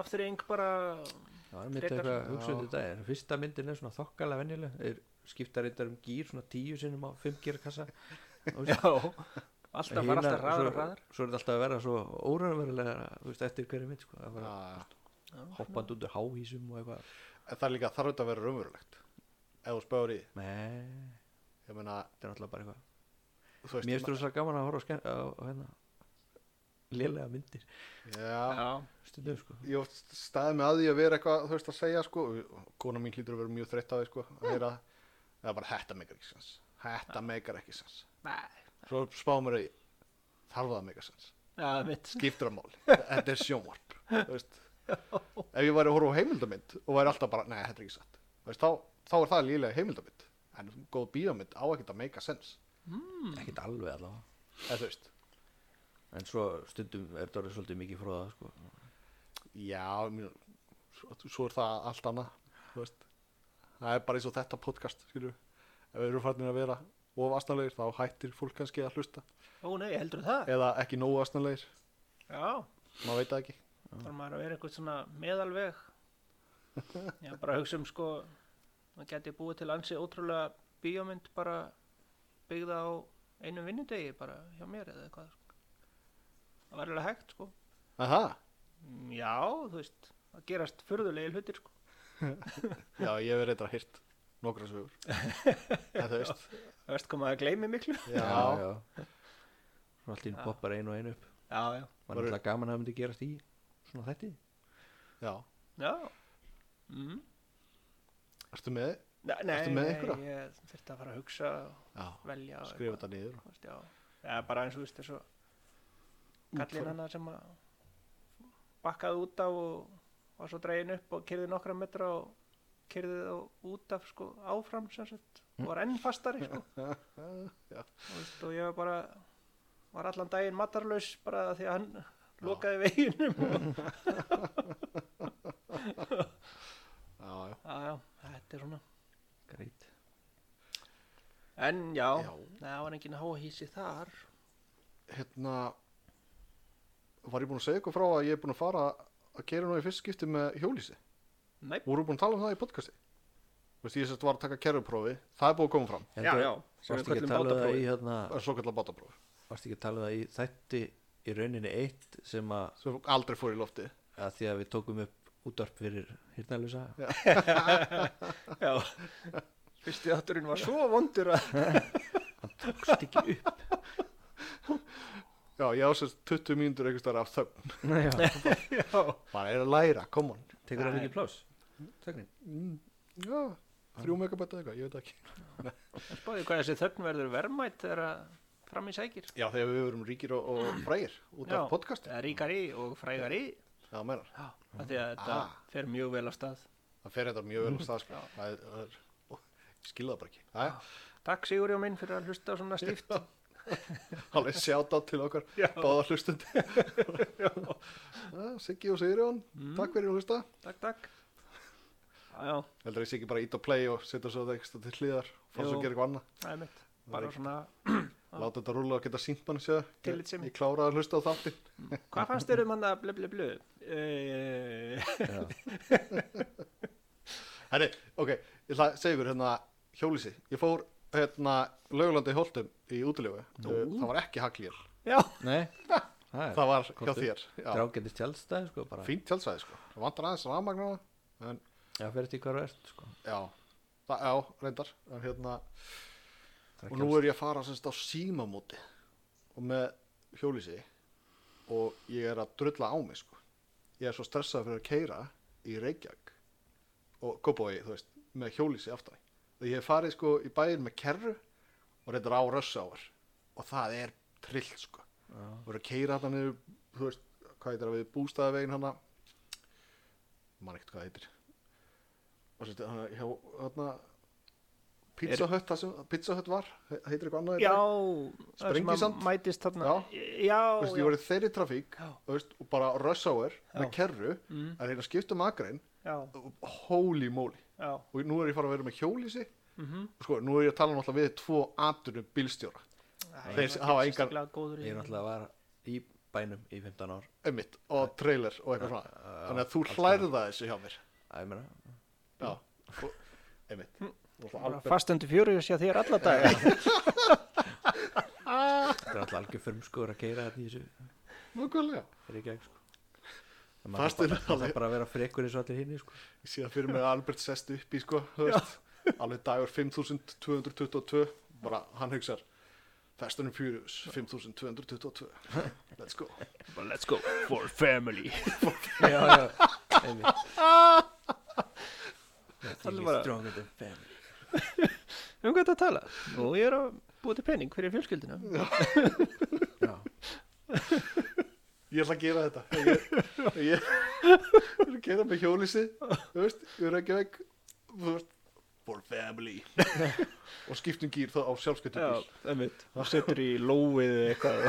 Speaker 3: afturring bara
Speaker 4: Já, það er mitt
Speaker 3: Frekar-
Speaker 4: eitthvað að hugsa um
Speaker 2: Já.
Speaker 4: þetta er Fyrsta myndin er svona þokkalega venjuleg er skipta reyndar um gýr svona tíu sinnum á fimm gýrkassa
Speaker 3: Já, alltaf fara alltaf hraðar og hraðar
Speaker 4: Svo er þetta alltaf að vera svo óraðverulega þú veist, eftir hverju mynd sko að vera
Speaker 2: Já, já.
Speaker 4: hoppandi út úr háhísum og eitthvað
Speaker 2: En það er líka þarf þetta að vera raunverulegt ef þú spáir í,
Speaker 4: Nei,
Speaker 2: ég meina
Speaker 4: þetta er alltaf bara eitthvað
Speaker 2: þú veist,
Speaker 4: Mér finnst þú svo gaman að horfa á skenn á, á hérna lélega myndir
Speaker 2: já,
Speaker 3: Já,
Speaker 4: stundum sko
Speaker 2: ég oft staðið með að því að vera eitthvað þú veist að segja sko, og kona mín hlýtur að vera mjög þreytt á því sko, að heyra það er bara þetta meikar ekki sens, þetta meikar ekki sens
Speaker 3: nei,
Speaker 2: svo spáum við í þarf það að meika sens,
Speaker 3: já, mitt
Speaker 2: skiptir að máli þetta er sjónvarp, þú veist ef ég væri að horfa á heimildamind og væri alltaf bara, nei, þetta er ekki satt Þú veist, þá, þá er það lílega heimildamind en góð bíómynd á ekkert að meika sens
Speaker 3: Hmm.
Speaker 4: Ekkert alveg allavega
Speaker 2: eða þú veist
Speaker 4: En svo stundum er þetta orðið svolítið mikið fróða sko
Speaker 2: Já, mjö, svo, svo er það allt annað þú veist. Það er bara eins og þetta podcast skilur. Ef við erum farnir að vera of astanlegir þá hættir fólk kannski að hlusta
Speaker 3: Ó nei, heldur það?
Speaker 2: eða ekki nógu astanlegir,
Speaker 3: Já,
Speaker 2: maður veit það ekki
Speaker 3: þarf maður að vera eitthvað svona meðalveg ég er bara að hugsa um sko maður geti búið til ansi ótrúlega bíómynd bara byggða á einum vinnudegi bara hjá mér eða eitthvað sko. það var alveg hægt sko
Speaker 2: Aha,
Speaker 3: Mm, já, þú veist, það gerast furðulegi hlutir sko
Speaker 2: já, ég hef reyndar hýrt nokkra sögur. En þú veist,
Speaker 3: það veist hvað maður gleymi miklu
Speaker 2: já, já,
Speaker 4: Svona allt í
Speaker 3: Já.
Speaker 4: einu poppar einu og einu upp
Speaker 3: já, já,
Speaker 4: Var
Speaker 2: Var-
Speaker 4: alltaf gaman að það myndi gerast í svona þætti
Speaker 2: já.
Speaker 3: já mm.
Speaker 2: Ertu með?
Speaker 3: Nei, nei,
Speaker 2: Ertu með einhverja?
Speaker 3: nei, ég þurfti að fara að hugsa og
Speaker 2: Já,
Speaker 3: velja og
Speaker 2: skrifa
Speaker 3: eitthvað,
Speaker 2: þetta niður.
Speaker 3: þú veist, já. Já, bara eins og þú veist þessu kallinn hana sem að bakkaði út af og var svo dregin upp og kyrði nokkra metra og kyrði þá út af sko áfram sem sagt og var enn fastari sko
Speaker 2: Já.
Speaker 3: og, veist, og ég var bara var allan daginn matarlaus bara af því að hann lokaði veginum og,
Speaker 2: Já, já,
Speaker 3: að, þetta er svona
Speaker 4: Greit
Speaker 3: en já,
Speaker 2: Já.
Speaker 3: Nei, það var engin háhísi þar
Speaker 2: hérna, var ég búin að segja ykkur frá að ég er búin að fara að keira nú í fyrst skipti með hjólísi?
Speaker 3: Nei,
Speaker 2: Vorum við búin að tala um það í podcasti? Þú veist, ég sérst var að taka kerfuprófi, það er búið að koma fram.
Speaker 3: já, já, sem við
Speaker 4: Varst ekki að
Speaker 3: köllum
Speaker 4: tala um það í
Speaker 3: bátaprófi
Speaker 4: hérna
Speaker 2: Það er svo kallar bátaprófi,
Speaker 4: Varst ekki að tala um það í þætti í rauninni eitt sem að,
Speaker 2: sem aldrei fór í lofti.
Speaker 4: að því að við tókum upp útvarp fyrir hirnalusa
Speaker 3: Já, fyrsti þátturinn var svo vondur að
Speaker 4: Tókst ekki upp
Speaker 2: Já, ég á sérst 20 mínútur einhvers þar af þögn.
Speaker 4: Nei, já.
Speaker 3: Já,
Speaker 2: Bara er að læra, come on.
Speaker 4: Tekur það mikið plás Þögnin
Speaker 2: Mm, já, þrjú megabæta eitthvað, ég veit ekki.
Speaker 3: spáði hvað þessi þögn verður verðmætt þegar að fram í sækir
Speaker 2: Já, þegar við verum ríkir og, og frægir út
Speaker 3: Já,
Speaker 2: af podcasti.
Speaker 3: eða ríkari og frægari
Speaker 2: Já, menar.
Speaker 3: Já, af því að þetta
Speaker 2: Ah.
Speaker 3: fer mjög vel á stað
Speaker 2: Það fer þetta mjög vel á stað, sko. Það er, það er, ó, ég skilða það bara ekki. Það er
Speaker 3: Takk Sigurjón minn fyrir að hlusta á svona stíft
Speaker 2: alveg sjátt á til okkar
Speaker 3: Já.
Speaker 2: báða hlustundi. Já, Siggi og Sigurjón,
Speaker 3: Mm.
Speaker 2: takk fyrir að hlusta.
Speaker 3: Takk, takk Já, já,
Speaker 2: Heldur ég Siggi bara ít og play og setja svo það ekstra til hliðar, fannst
Speaker 3: Jú.
Speaker 2: að gera eitthvað annað.
Speaker 3: það er mitt
Speaker 2: Það
Speaker 3: Bara
Speaker 2: er
Speaker 3: svona,
Speaker 2: Láta þetta rúla og geta sínt mann sér.
Speaker 3: Tillitssemi.
Speaker 2: Ég kláraði að hlusta á þáttinn.
Speaker 3: hvað fannst þér um hann að blö blö blö? Uh,
Speaker 2: Herri, ok, ég ætla að segja ykkur hérna hjólísi. Ég fór hérna lögulandi í Holtum í útilegu. Það var ekki hagljél.
Speaker 3: já,
Speaker 4: Nei Það er
Speaker 2: Það var hjá
Speaker 4: kostur.
Speaker 2: þér. Já,
Speaker 4: drágetist tjálstæð sko bara
Speaker 2: fínt tjálsæði sko. Það vantar aðeins rafmagnaða. En
Speaker 4: Já, fyrir til hvað þú ert sko
Speaker 2: já, það, já, reyndar. En hérna,
Speaker 4: Það
Speaker 2: og nú er ég að fara semst á símamóti og með hjólísi og ég er að drulla á mig sko. Ég er svo stressað fyrir að keira í Reykjavík og Kópavogi, þú veist, með hjólísi aftan. Og ég hef farið sko í bæinn með kerru og reyndar á rössáar og það er trill sko.
Speaker 4: Já.
Speaker 2: Og verður að keira hann niður, þú veist, hvað heitir það við bústæðavegin hana, mann ekkert hvað það heitir. Og sérst, hann hjá, hérna, Pizza Hut, það sem Pizza Hut var, he- heitir eitthvað annað í
Speaker 3: já
Speaker 2: dag?
Speaker 3: það sem að
Speaker 2: Sprengisand?
Speaker 3: Mætist þarna Já,
Speaker 2: Þú veist, ég
Speaker 3: já,
Speaker 2: verið þeirri trafík,
Speaker 3: Já.
Speaker 2: þú veist, og bara rössáar með
Speaker 3: Já.
Speaker 2: kerru,
Speaker 3: Mm.
Speaker 2: að reyna að skipta um akrein,
Speaker 3: já,
Speaker 2: holy moly.
Speaker 3: já
Speaker 2: Og nú er ég farið að vera með hjólísi,
Speaker 3: mhm.
Speaker 2: sko, nú er ég að tala náttúrulega við tvo atunum bílstjóra
Speaker 3: Æ,
Speaker 2: Þeir
Speaker 3: ég var
Speaker 2: hafa
Speaker 3: ekki
Speaker 2: engar-
Speaker 3: sérstaklega góður í-
Speaker 4: Ég náttúrulega var í bænum í 15 ár
Speaker 2: einmitt, og trailer og eitthvað svona
Speaker 4: já,
Speaker 2: þannig að þú
Speaker 4: alls
Speaker 2: hlærið það þessu hjá mér
Speaker 4: Æ, ég meina
Speaker 2: já, og, einmitt Náttúrulega
Speaker 3: Bara
Speaker 2: Albert-
Speaker 3: Fast undir fjöru sé þér alla daga
Speaker 4: Þetta er alltaf algjör förmskur að keira þetta í þessu
Speaker 2: nákvæmlega,
Speaker 4: er ekki ekki sko En maður þarf
Speaker 2: Fastinn
Speaker 4: bara- maður
Speaker 2: alveg.
Speaker 4: þarf bara að vera frekur eins og allir hinn sko.
Speaker 2: ég sé það fyrir mér að Albert sest upp í sko, þú veist, alveg dagur 5222, bara hann hugsar Fast and Furious 5222 let's go
Speaker 3: Let's go for family
Speaker 4: Já, já, einmitt
Speaker 3: Allir
Speaker 4: Nothing is
Speaker 3: bara-
Speaker 4: stronger than family
Speaker 3: Um hvað þetta tala? Nú ég er að búið til penning fyrir fjölskyldina
Speaker 4: Já,
Speaker 2: ég ætla að gera þetta ég, ég, ég, er að gera með hjólísi þú veist, ég er ekki veg þú veist, for family og skiptum gýr þá á sjálfskötu
Speaker 3: Já, einmitt Hún setur í lóið eða eitthvað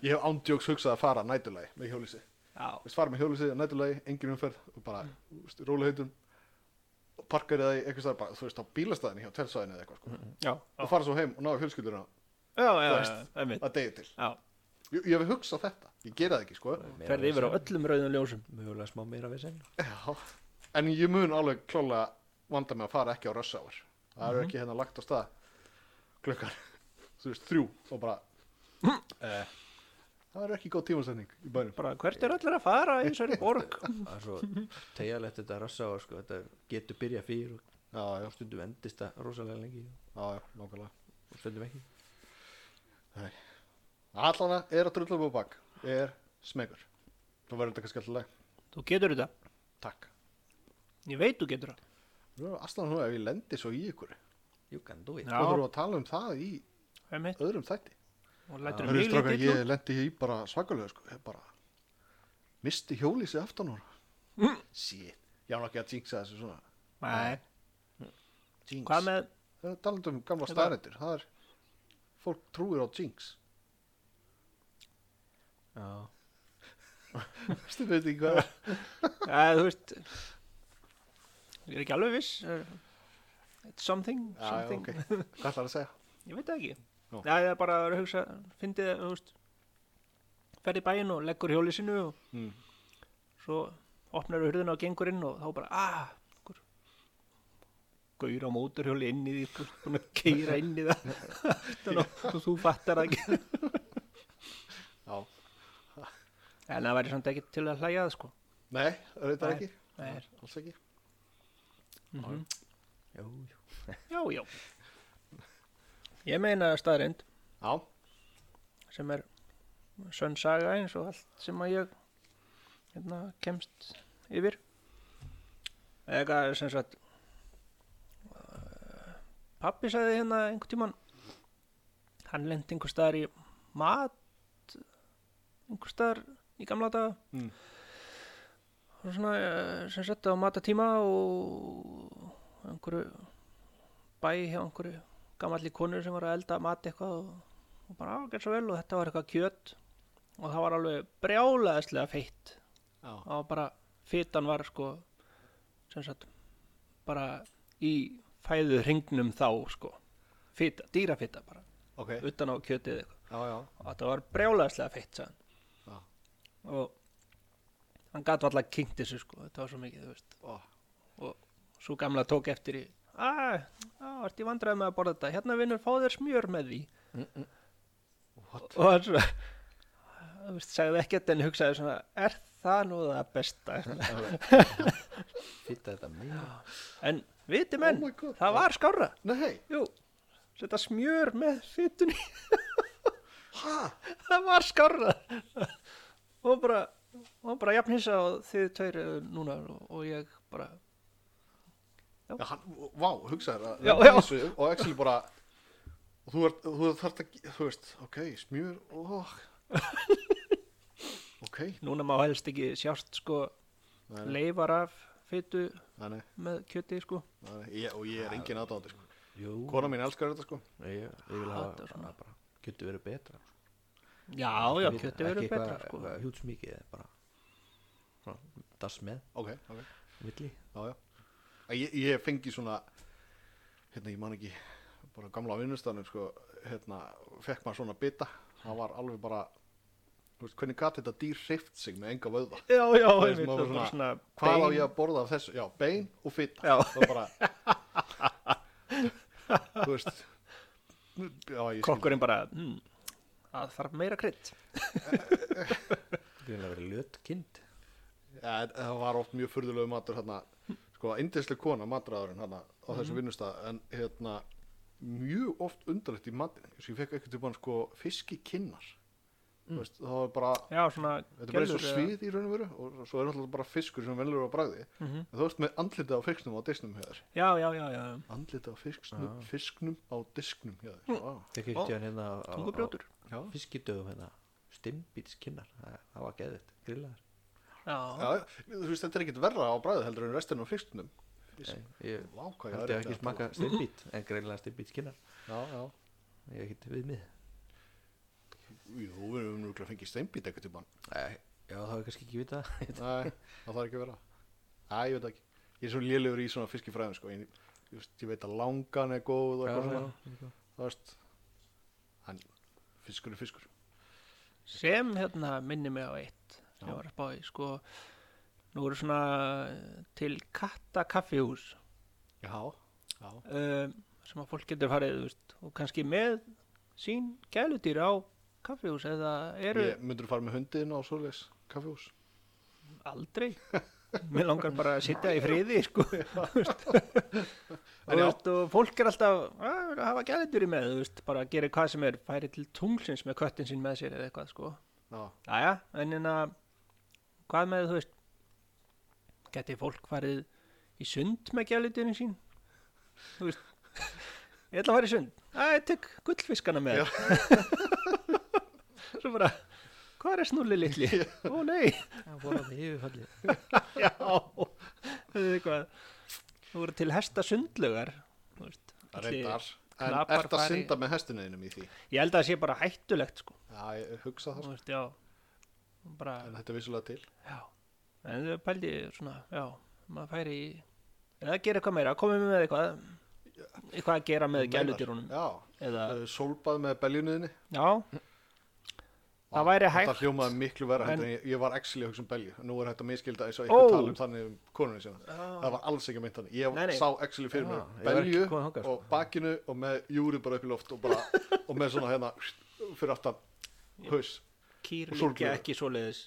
Speaker 2: ég hef ándjóks hugsað að fara nætulegi með hjólísi
Speaker 3: Já,
Speaker 2: Þú veist, fara með hjólísi nætulegi, engin umferð og bara, þú veist, róla heitum og parkar það í eitthvað starf bara, þú veist, á bílastæðinu hjá telsvæðinu eða eitthvað sko.
Speaker 3: já,
Speaker 2: og fara svo heim og ná í fjölskyldurina
Speaker 3: já, já,
Speaker 2: Þú
Speaker 3: já,
Speaker 2: veist.
Speaker 3: einmitt
Speaker 2: að degi til
Speaker 3: Já,
Speaker 2: ég, ég hef hugsað þetta, ég gera það ekki sko.
Speaker 4: meira
Speaker 3: ferði yfir á
Speaker 4: vesen.
Speaker 3: öllum rauðum ljósum
Speaker 4: Mögulega smá meira við sen
Speaker 2: Já. en ég mun alveg klálega vanda mig að fara ekki á rössáar það eru ekki hérna lagt á stað klukkan þú veist, þrjú og bara eh, það er ekki góð tímasetning í bænum
Speaker 3: bara hvert er allir að fara í þessari borg
Speaker 4: það er svo tegjalegt þetta rassa á sko, þetta getur byrjað fyrir og
Speaker 2: já, já,
Speaker 4: stundum endist það rosalega lengi
Speaker 2: já, já, nákvæmlega
Speaker 4: og stundum ekki
Speaker 2: allana er að drulla upp á bak er smegur þá verður þetta kannski alltaf leið
Speaker 3: þú getur þetta,
Speaker 2: takk
Speaker 3: ég veit þú getur það
Speaker 2: nú erum aslan nú ef ég lendi svo í ykkur
Speaker 4: you can do it
Speaker 3: Já.
Speaker 2: þá þurfum við að tala um það í
Speaker 3: einmitt,
Speaker 2: öðrum þætti
Speaker 3: og lætur
Speaker 2: Hörru
Speaker 3: mig
Speaker 2: strákar,
Speaker 3: lítið
Speaker 2: ég lendi í bara svakalega sko, ég bara misti hjólísi aftan úr
Speaker 3: Mm.
Speaker 2: Shit, ég án ekki að jinxa þessu svona
Speaker 3: Nei,
Speaker 2: Jinx
Speaker 3: hvað með
Speaker 2: Það er talandi um gamla
Speaker 3: Þetta-
Speaker 2: staðarendur Það er, fólk trúir á jinx
Speaker 4: já,
Speaker 2: Þú veit ekki hvað er
Speaker 3: Já, þú veist Ég er ekki alveg viss eh, It's something,
Speaker 2: Já, já,
Speaker 3: something.
Speaker 2: ok, hvað ætlar að segja?
Speaker 3: Ég veit það ekki
Speaker 2: Nú.
Speaker 3: Já, ég er bara að hugsa Fyndið, þú veist Ferð í bæinn og leggur hjóli sinu og
Speaker 2: Mm.
Speaker 3: svo opnar hurðina og gengur inn og þá bara ah, einhver gaur á móturhjóli inn í því einhver búinn að keira inn í það Aftan á- og þú fattar það ekki
Speaker 2: Já,
Speaker 3: en það væri samt ekki til að hlæja það sko
Speaker 2: nei, auðvitað
Speaker 3: Nei.
Speaker 2: ekki
Speaker 3: Nei.
Speaker 2: Alls ekki
Speaker 3: mm
Speaker 4: já, já.
Speaker 3: Já, já Ég meina staðrind
Speaker 2: Já,
Speaker 3: sem er sönn saga eins og allt sem að ég hérna, kemst yfir eða sem sagt eh, pabbi sagði hérna einhvern tímann hann lendi einhver staðar í mat einhver staðar í gamla daga
Speaker 2: Mm.
Speaker 3: og svona eh, sem sagt á matatíma og einhverju bæ hjá einhverju gamalli konu sem var að elda mat eitthvað og og bara á, gerð svo vel og þetta var eitthvað kjöt og það var alveg brjálaðislega feitt
Speaker 2: Já.
Speaker 3: það var bara, fitan var sko sem sagt bara í fæðu hringnum þá sko, fita, dýrafita bara,
Speaker 2: ok,
Speaker 3: utan á kjötið eitthvað
Speaker 2: já, já,
Speaker 3: og þetta var brjálaðislega feitt sagðan.
Speaker 2: Já.
Speaker 3: og hann gat varla kynkt þessu sko, þetta var svo mikið, þú veist
Speaker 2: Ó,
Speaker 3: svo gamla tók eftir í að, að, ert í vandræði með að borða þetta hérna vinnur, fá þér smjör með því
Speaker 2: Mm, What?
Speaker 3: og hann svo þú veist, sagði ekkert en hugsaði svona er það nú það besta
Speaker 4: fitta þetta mjög
Speaker 3: en viti menn,
Speaker 2: Oh my God.
Speaker 3: það var skára
Speaker 2: Nei,
Speaker 3: jú, setja smjör með fytunni
Speaker 2: ha,
Speaker 3: það var skára og bara og bara jafn hissa og þið tveir eh, núna og, og ég bara
Speaker 2: já, hann, vá, hugsaður að
Speaker 3: Já,
Speaker 2: lendi í
Speaker 3: já.
Speaker 2: þessu Og actually bara og Þú, ert, þú þarft að, ge- þú veist, ok, smjur, ó Ok,
Speaker 3: núna má helst ekki sjást sko
Speaker 2: Nei, nei.
Speaker 3: leifar af fytu
Speaker 2: Nei, nei,
Speaker 3: með kjöti sko
Speaker 2: nei, nei, ég, og ég er engin aðdáðandi sko.
Speaker 4: jú,
Speaker 2: Kona mín elskar þetta sko
Speaker 4: ég, ég vil hafa
Speaker 3: Þetta er svona.
Speaker 4: svona bara getur verið betra sko.
Speaker 3: já, já,
Speaker 4: Ekki-
Speaker 3: kjöti verður
Speaker 4: ekki
Speaker 3: betra
Speaker 4: eitthvað-
Speaker 3: sko
Speaker 4: eitthvað hjúts mikið eða bara svona, das með
Speaker 2: Ok, ok,
Speaker 4: milli
Speaker 2: já, já Æ, Ég, ég fengi svona Hérna, ég man ekki Bara á gamla vinnustanum sko Hérna, fekk maður svona bita Það var alveg bara Þú veist, hvernig gat þetta dýr hreift sig með enga vöðva
Speaker 3: já, já,
Speaker 2: Það er
Speaker 3: einmitt, það
Speaker 2: sem að vera
Speaker 3: var bara svona
Speaker 2: Hvað á
Speaker 3: bein.
Speaker 2: ég að borða af þessu? Já, bein og fitta
Speaker 3: Já.
Speaker 2: Það var bara Þú veist Já, ég skil
Speaker 3: kokkurinn bara mm, að þarf meira krydd
Speaker 4: það verið löt kind
Speaker 2: Ja, en það var oft mjög furðulegu matur hérna, sko, indislega kona matræðurinn hérna á
Speaker 3: Mhm.
Speaker 2: þessum vinnustað, en hérna mjög oft undarlegt í matinu eins og ég fekk ekkert tímann sko fiskikinnar mm. veist, það var bara
Speaker 3: já svona
Speaker 2: þetta er bara eins og
Speaker 3: gellur,
Speaker 2: svið í raun og veru og svo er náttúrulega bara fiskur sem velur á bragði
Speaker 3: Mhm.
Speaker 2: en þú veist með andlita á fisknum á disknum hér
Speaker 3: já, já, já, já.
Speaker 2: andlita á fisknum, fisknum á disknum hér mm.
Speaker 4: ekki ekki hann hérna á- á-
Speaker 3: tungubrjótur
Speaker 2: já,
Speaker 4: fiskidögum hérna stimbítskinnar, það það var geðið grillaðar
Speaker 3: já,
Speaker 2: já, þú veist þetta er ekkert verra á bragði heldur en restin á fisknum fisk,
Speaker 4: Nei, ég
Speaker 2: vá hvað ég
Speaker 4: held
Speaker 2: er
Speaker 4: ég
Speaker 2: sko.
Speaker 4: ekki smaka stimbít en grillaðar stimbítskinnar
Speaker 2: já, já
Speaker 4: ég hef ekki við mið
Speaker 2: Jú, við höfum núklega fengið steinbít eitthvað tímann.
Speaker 4: Nei, já það er kannski ekki vita
Speaker 2: Nei, það þarf ekki að vera. Æ, ég veit það ekki. Ég er svo lélegur í svona fiskifræðum, sko. Ég, ég, veist, ég veit að langan er góð og eitthvað svona. Það veist, hann, fiskur er fiskur.
Speaker 3: sem hérna minni mig á eitt sem
Speaker 2: Já.
Speaker 3: ég var að spá í sko nú eru svona eh, til katta kaffihús
Speaker 2: Já, já.
Speaker 3: um, sem að fólk getur farið þú veist, og kannski með sín gæludýr á kaffihús eða eru
Speaker 2: Ég myndur fara með hundin á svoleiðis kaffihús
Speaker 3: aldrei mér langar bara að sitja í friði sko Þú veist. og, þú veist, og fólk er alltaf "Ah, að vil hafa gæludýr í með þú veist, bara gera hvað sem er færi til tunglsins með köttin sín með sér eða eitthvað sko
Speaker 2: Já,
Speaker 3: Jæja, en en að hvað með þú veist geti fólk farið í sund með gæludýrin sín þú veist ég ætla að fara í sund, að ég tek gullfiskana með svo bara hvað er snúli litli? ó nei,
Speaker 4: Það voru að því yfirfalli
Speaker 3: já þú veist hvað þú voru til hesta sundlögar þú veist,
Speaker 2: það
Speaker 3: allir-
Speaker 2: reyndar En
Speaker 3: knapar
Speaker 2: ert að
Speaker 3: fari-
Speaker 2: synda með hestinuðinum í því?
Speaker 3: ég held að það sé bara hættulegt sko,
Speaker 2: Já, ég hugsa það
Speaker 3: þú
Speaker 2: sko.
Speaker 3: veist, já bara,
Speaker 2: En þetta er vissulega til
Speaker 3: Já, en þau pældi svona, já, maður færi í, eða gera eitthvað meira, komið með eitthvað, eitthvað að gera með
Speaker 2: Þú meinar.
Speaker 3: gæludýrunum,
Speaker 2: Já,
Speaker 3: eða,
Speaker 2: uh, sólbað með beljunuðinni
Speaker 3: já, Það væri hægt.
Speaker 2: Þetta hljómaði miklu vera
Speaker 3: En-
Speaker 2: en... ég, ég var actually að hugsa um belju Nú er þetta miskilda eins
Speaker 3: Ó.
Speaker 2: og eitthvað tala um þannig um konunni sína
Speaker 3: já,
Speaker 2: Það var alls ekki meint þannig Ég
Speaker 3: Nei, nei.
Speaker 2: sá actually fyrir mér
Speaker 4: Já, ég var
Speaker 2: belju
Speaker 4: ekki kominn þangað, sko.
Speaker 2: og bakinu og með júri bara upp í loft og, bara, og með svona hérna fyrir aftan haus
Speaker 3: kýr
Speaker 2: og
Speaker 3: líka
Speaker 2: sólgleraugu.
Speaker 3: ekki svoleiðis,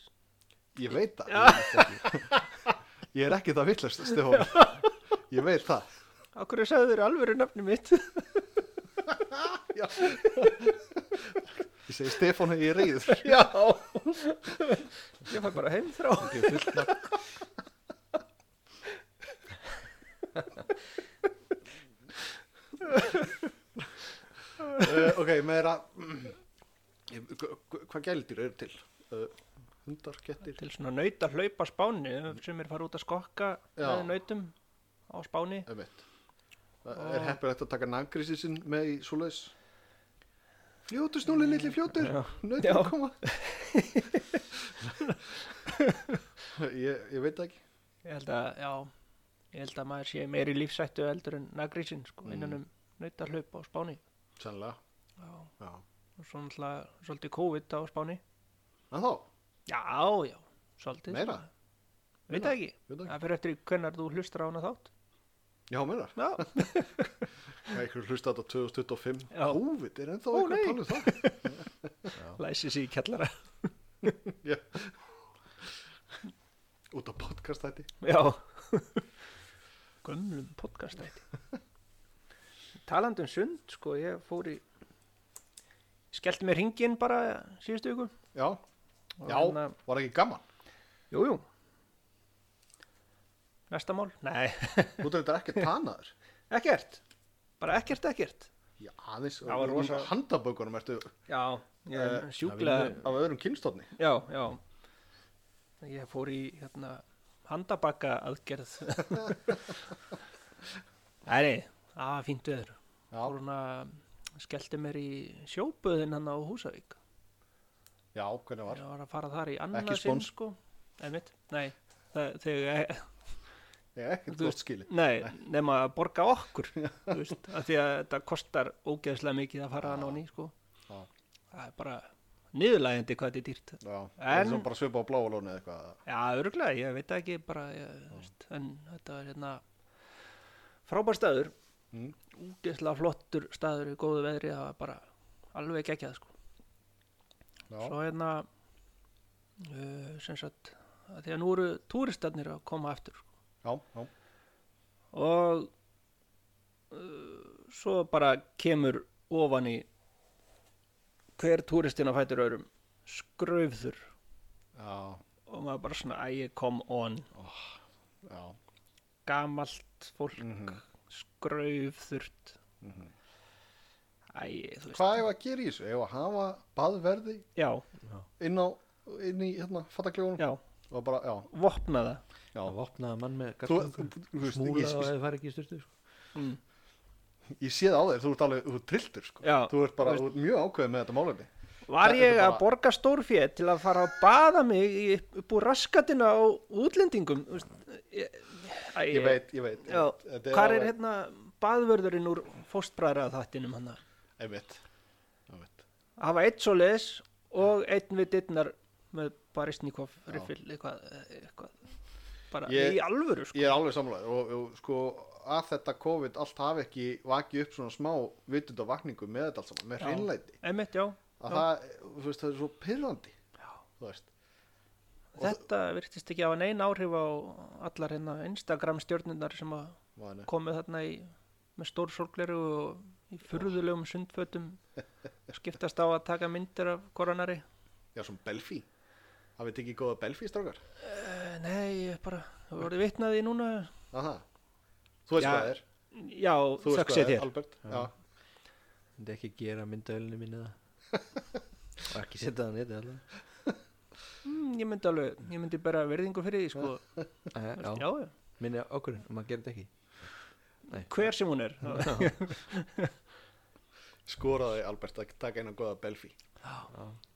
Speaker 2: Ég veit það ég, veit ekki. ég er ekki það villast Stefán Ég veit það
Speaker 3: á hverju sagðu þér alvöru nafni mitt,
Speaker 2: Já. Ég segi Stefán hef ég reyður
Speaker 3: já, ég fæ bara heim þrá,
Speaker 4: Ekki fullt nafn.
Speaker 2: uh, Ok, meira Ég- hva- hva- Hvað gældir eru til? Uh, hundar, kettir
Speaker 3: til svona nauta hlaupa á spáni, sem er fara út að skokka
Speaker 2: Já.
Speaker 3: með nautum á spáni,
Speaker 2: Einmitt. Það er heppilegt að taka nangrísi sinn með í svoleiðis. Fljótur snúli, litli fljótur.
Speaker 3: Já.
Speaker 2: Nautur að
Speaker 3: Já.
Speaker 2: koma. ég, ég veit það ekki.
Speaker 3: ég held að, já, ég held að maður sé meiri lífsættu eldur en nagrísinn, sko,
Speaker 2: Mm.
Speaker 3: innan um nauta hlaupa á spáni,
Speaker 2: Sannlega.
Speaker 3: já.
Speaker 2: Já.
Speaker 3: og svo náttúrulega svolítið COVID á Spáni
Speaker 2: En þá,
Speaker 3: já, já, svolítið
Speaker 2: Meira?
Speaker 3: svona. veit það ekki,
Speaker 2: veit það ekki.
Speaker 3: það fyrir eftir hvernar þú hlustar á hana þátt
Speaker 2: Já, meira.
Speaker 3: já,
Speaker 2: Það er ykkur hlusta þetta 2025.
Speaker 3: Já.
Speaker 2: Óvit, er ennþá
Speaker 3: Ó,
Speaker 2: ykkur að
Speaker 3: nei.
Speaker 2: tala um það.
Speaker 3: læsi sig í kjallara
Speaker 2: Út á podcastæti.
Speaker 3: já gömlum podcastæti talandi um sund sko, ég fór í skellti mér hringin bara síðustu ykkur
Speaker 2: Já, já,
Speaker 3: hérna-
Speaker 2: var ekki gaman.
Speaker 3: jú, jú næsta mál, nei,
Speaker 2: Þú þetta er ekki tanaður.
Speaker 3: ekkert bara ekkert, ekkert
Speaker 2: Já, aðeins.
Speaker 3: Það var rosa-
Speaker 2: Handabökunum ertu
Speaker 3: já, ég
Speaker 2: Eh,
Speaker 3: er sjúklega
Speaker 2: af öðrum kynstofni.
Speaker 3: Já, já. Ég fór í hérna, handabakka aðgerð. Nei, það var fínt veður.
Speaker 2: Já.
Speaker 3: Fór hún að skellti mér í sjóböðin hann á Húsavík.
Speaker 2: Já, hvernig var?
Speaker 3: Ég var að fara þar í annað
Speaker 2: Ekki
Speaker 3: sinn,
Speaker 2: spons.
Speaker 3: sko. Nei, mitt. Nei, það, þegar,
Speaker 2: Ég er ekkert
Speaker 3: Þú-
Speaker 2: gott skili.
Speaker 3: nei, nema að borga okkur, þú veist, af því að þetta kostar ógeðslega mikið að fara hann á ný, sko.
Speaker 2: Já.
Speaker 3: Það er bara niðurlægjandi hvað þetta er dýrt.
Speaker 2: Já, það er
Speaker 3: En-
Speaker 2: svona bara svipa á bláa lónu eða eitthvað.
Speaker 3: Já, örgulega, ég veit það ekki bara, ég, veist, en þetta er hérna frábær staður
Speaker 2: Mm.
Speaker 3: útislega flottur staður í góðu veðri, það var bara alveg geggjað sko.
Speaker 2: Já,
Speaker 3: Svo hérna uh, sem sagt að því að nú eru túristarnir að koma aftur sko.
Speaker 2: já, já.
Speaker 3: og uh, svo bara kemur ofan í hver túristin að fætur öðrum skröfður
Speaker 2: Já,
Speaker 3: og maður bara svona, æ, come on
Speaker 2: já.
Speaker 3: gamalt fólk
Speaker 2: Mhm.
Speaker 3: skraufþurrt Æ, þú veist
Speaker 2: Hvað hefur að gera í þessu? Hefur að hafa baðverði
Speaker 3: Já,
Speaker 2: inn á, inn í hérna, fattakljónum?
Speaker 3: já,
Speaker 2: Og bara, já,
Speaker 3: vopna það
Speaker 2: já.
Speaker 4: Það vopnaði mann með
Speaker 2: Þú,
Speaker 4: garðkúpu.
Speaker 2: þú, þú veist,
Speaker 4: Smúla og
Speaker 2: ég,
Speaker 4: það fær ekki í styrtu sko.
Speaker 3: mm.
Speaker 2: ég, ég sé það á þér, þú ert alveg, þú ert trilltur, sko.
Speaker 3: Já.
Speaker 2: Þú ert bara, þú ert mjög ákveðið með þetta málefni.
Speaker 3: Var
Speaker 2: Þetta er
Speaker 3: ég
Speaker 2: bara-
Speaker 3: að borga stórféð til að fara að baða mig í, upp úr raskatina á útlendingum Þú veist, ég, æ,
Speaker 2: Ég veit, ég veit.
Speaker 3: Já,
Speaker 2: Þetta
Speaker 3: hvar er
Speaker 2: alveg-
Speaker 3: hérna baðvörðurinn úr fóstbræðra þættinum hann
Speaker 2: Einmitt,
Speaker 3: hérna?
Speaker 2: einmitt.
Speaker 3: að hafa eitt svoleiðis og einn við dittnar með barisnikoff riffil eitthvað, eitthvað bara
Speaker 2: Ég-
Speaker 3: í alvöru sko.
Speaker 2: Ég er alveg samlega og, og sko að þetta COVID allt hafi ekki vakið upp svona smá vitund og vakningu með þetta allt saman, með
Speaker 3: Já.
Speaker 2: hreinlæti
Speaker 3: Einmitt, já,
Speaker 2: að það, þú veist, það er svo pyrrandi þú veist,
Speaker 3: þetta virtist ekki hafa neina áhrif á allar hérna Instagram stjórnirnar sem að
Speaker 2: maður
Speaker 3: komu þarna í, með stór sorgleru og í furðulegum sundfötum skiptast á að taka myndir af koronari
Speaker 2: já, svona belfi hafið þið ekki góða belfi strákar
Speaker 3: Eh, Nei, ég bara, þú voru vitnaði núna
Speaker 2: Aha. þú veist
Speaker 3: Já,
Speaker 2: hvað það er
Speaker 3: Já,
Speaker 2: þú veist
Speaker 3: þökk
Speaker 2: hvað
Speaker 3: sé
Speaker 2: það er,
Speaker 3: þér
Speaker 2: Albert já.
Speaker 4: myndi ekki gera myndavélinu minni það og ekki setja það á neti alltaf
Speaker 3: mm, Ég myndi alveg, ég myndi bara verðingu fyrir því sko.
Speaker 4: Eh,
Speaker 3: já.
Speaker 4: já,
Speaker 3: Já, já.
Speaker 4: minni okkur og maður gerir þetta ekki
Speaker 3: Hver sem hún er já.
Speaker 2: skoraði Albert að taka eina góða belfi
Speaker 4: Já.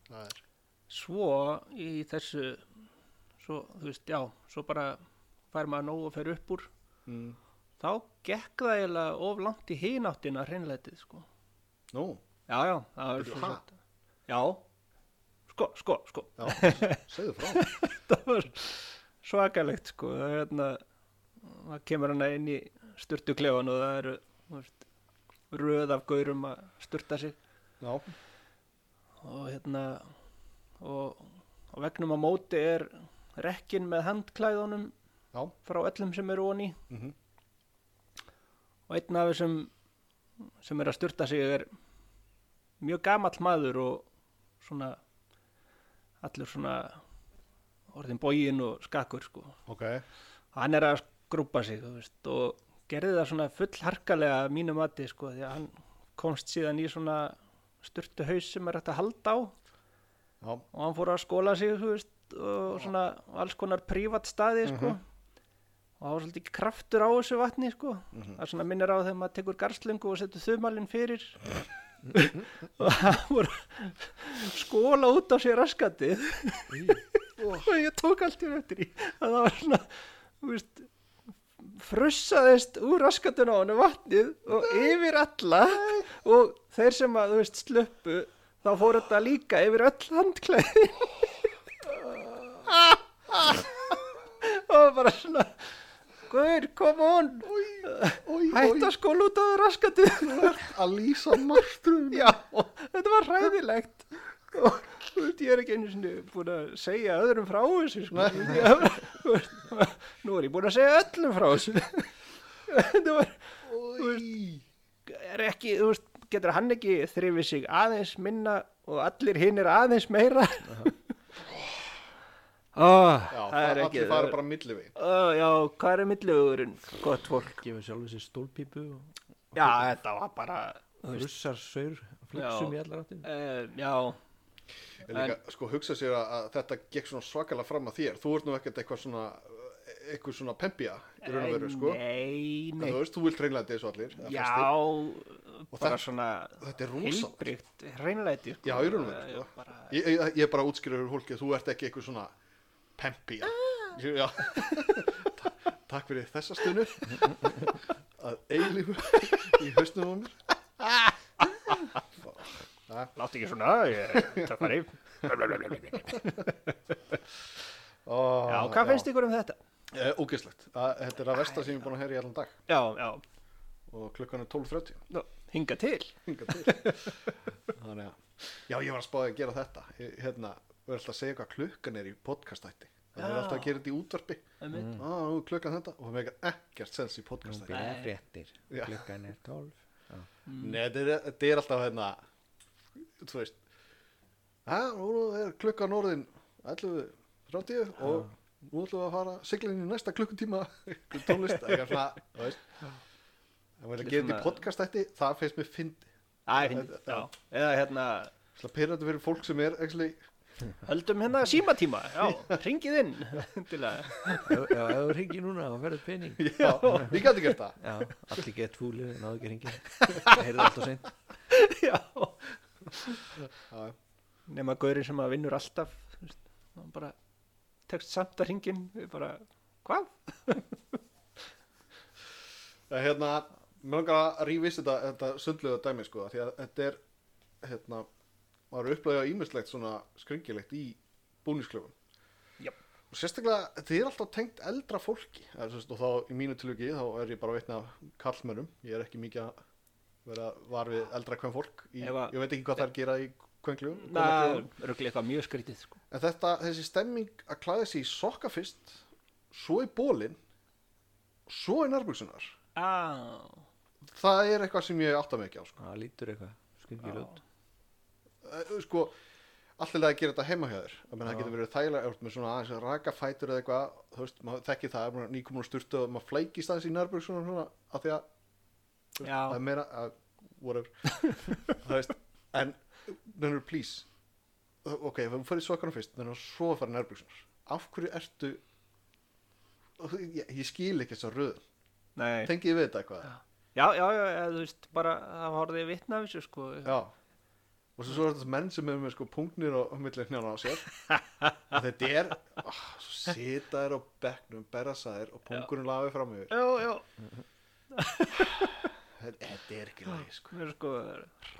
Speaker 2: það er,
Speaker 3: Svo í þessu Svo, þú veist, já Svo bara fær maður nóg og fer upp úr
Speaker 2: mm.
Speaker 3: Þá gekk það eiginlega of langt í hináttina hreinlætið sko.
Speaker 2: nú,
Speaker 3: Já, já, það var
Speaker 2: Bíddu,
Speaker 3: svo
Speaker 2: ha?
Speaker 3: satt Já, sko, sko, sko
Speaker 2: já, segðu frá
Speaker 3: það var svakalegt sko það, er hérna, það kemur hana inn í styrtu og það eru þú veist, röð af gaurum að styrta sig
Speaker 2: já,
Speaker 3: og hérna og á vegnum á móti er rekkin með handklæðunum
Speaker 2: já,
Speaker 3: frá öllum sem eru onni
Speaker 2: Mhm.
Speaker 3: og einn af þessum sem er að styrta sig er mjög gamall maður og svona allur svona orðin bógin og skakkur sko
Speaker 2: ok
Speaker 3: hann er að grúpa sig þú veist, og gerði það svona fullharkalega að mínu mati sko því að hann komst síðan í svona styrtu haus sem er hægt að halda á og
Speaker 2: já,
Speaker 3: hann fór að skóla sig þú veist, og svona alls konar prívat staði sko og það var svolítið kraftur á þessu vatni sko það svona minnir á þegar maður tekur garslöngu og setur þumalinn fyrir og hann fór að skóla út á sér raskatið og ég tók allt í einu eftir í að það var svona þú veist, frussaðist úr raskatun á hann vatnið og yfir alla og þeir sem að þú veist slöppu þá fór þetta líka yfir öll handklæði og bara svona Guður, kom on
Speaker 2: oi,
Speaker 3: hætt að skóla út á raskatið
Speaker 2: að lýsa margtrum
Speaker 3: Já, þetta var hræðilegt og þú veist, ég er ekki einu sinni búin að segja öðrum frá þessu sko. Ég er bara, þú veist, nú er ég búin að segja öllum frá þessu þetta var
Speaker 2: oi,
Speaker 3: er ekki, þú veist, getur hann ekki þrifið sig aðeins minna og allir hinn er aðeins meira oh,
Speaker 2: já,
Speaker 3: það er ekki
Speaker 2: allir fara bara millivegin
Speaker 3: Ó, já, hvað er millugurinn, gott fólk
Speaker 4: gefur sjálfur sér stólpípu og
Speaker 3: já, þetta var bara
Speaker 4: russar saur flexum
Speaker 3: Já.
Speaker 4: í allar áttin
Speaker 3: uh, já,
Speaker 2: En líka, sko, hugsa sér að, að þetta gekk svona svakalega fram að þér. Þú ert nú ekkert eitthvað svona, eitthvað svona pempja í raun og veru, sko.
Speaker 3: nei,
Speaker 2: En
Speaker 3: nei
Speaker 2: þú veist, þú vilt reynlega þessu allir. eða flestir.
Speaker 3: Já, bara
Speaker 2: þetta-
Speaker 3: svona
Speaker 2: Þetta er rosalega.
Speaker 3: heilbrygt, hreinlæti sko.
Speaker 2: Já, í raun og veru,
Speaker 3: Ég
Speaker 2: sko.
Speaker 3: bara-
Speaker 2: Ég, ég, ég er bara að útskýra fyrir hólkið, þú ert ekki eitthvað svona pempja.
Speaker 3: Ah.
Speaker 2: Já. Ta- Takk fyrir þessa stundu. Að eilífu í hausnum á mér.
Speaker 3: Láttu ekki svona, ég, takk fyrir
Speaker 2: Ó,
Speaker 3: Já, hvað finnst ykkur um þetta?
Speaker 2: Ah, Eh, Ógeðslegt. Það- Þetta er að versta sem ég er búin að heyra í allan dag.
Speaker 3: Já, já,
Speaker 2: Og klukkan er 12.30.
Speaker 3: nú, hinga til
Speaker 2: hingað til þannig að já ég var að spáði að gera þetta Ég- hérna, við erum alltaf að segja hvað klukkan er í podcastætti það er
Speaker 3: Já.
Speaker 2: alltaf að gera þetta í útvarpi Mm.
Speaker 3: Einmitt.
Speaker 2: á, nú er klukkan þetta og það megar ekkert sens í podcastætti
Speaker 3: byrjar
Speaker 4: fréttir,
Speaker 2: Já.
Speaker 4: klukkan er 12
Speaker 2: Nei, þetta er, þetta er alltaf hérna þú veist að, nú er klukkan orðin 11.30 og nú ætlum við að fara siglinni næsta klukkutíma í tónlist það er svona, þú veist ef við erum að gera þetta í
Speaker 3: Svona-
Speaker 2: podcastætti það finnst mér fyndi
Speaker 3: Æ, finn, já, eða hérna
Speaker 2: Svona pyrrandi fyrir fólk sem er actually,
Speaker 3: Höldum hérna símatíma, já, ringið inn til að,
Speaker 4: já, já, ef þú ringir núna og verður pening
Speaker 2: já, við gæti gert það
Speaker 4: já, allir get fúlið, náðu ekki ringir það heyrðu alltaf seint
Speaker 3: já
Speaker 2: Já, já.
Speaker 3: Nema gaurinn sem að vinnur alltaf þú veist, hann bara tekst samt að ringin við bara, hvað?
Speaker 2: En hérna, mér langar að rífist þetta, þetta sundluða dæmi sko, því að þetta er, hérna, maður er upplæðið á ímislegt svona skringilegt í búningsklefum.
Speaker 3: Jöp.
Speaker 2: og sérstaklega, þið er alltaf tengt eldra fólki eða, sem sagt, og þá í mínu tilviki þá er ég bara veitna karlmönnum ég er ekki mikið að vera var við eldra hvern fólk í,
Speaker 3: Ef að-
Speaker 2: ég veit ekki hvað það er að gera í kvenglugum
Speaker 3: Na, rugli eitthvað mjög skrítið sko.
Speaker 2: en þetta, þessi stemming að klæða sig í sokka fyrst svo í bólin svo í nærbúksunar
Speaker 3: ah,
Speaker 2: það er eitthvað sem ég átta mig ekki á sko.
Speaker 4: það lítur eitthvað skyngilega út
Speaker 2: Eh, sko, allirlega að gera þetta heima hjá þér að menn það getur verið þægilega ef þú ert með svona aðeins að raka fætur eða eitthvað þú veist, maður þekki það, ef maður er nýkomin að styrta og maður flækist aðeins í nærbjörg svona, svona að því að það
Speaker 3: já,
Speaker 2: er meira að, whatever þú veist, en nennur please ok, ef við fyrir sokkarnum fyrst nennur svo að fara nærbjörgsunar af hverju ertu ég, ég skil ekki þess að röðum
Speaker 3: nei
Speaker 2: tengið við þetta eitthvað
Speaker 3: Já. já, já, já, eða, þú veist bara það horfði ég vitna af þessu sko.
Speaker 2: Já Og svo, svo er þetta menn sem er með sko punktnir og millir hnjána á sér og þetta er oh, svo sita þér á bekknum, berasa þér og punkturinn lafið fram yfir
Speaker 3: já, já,
Speaker 2: Þetta þetta er ekki lægi sko
Speaker 3: mér er sko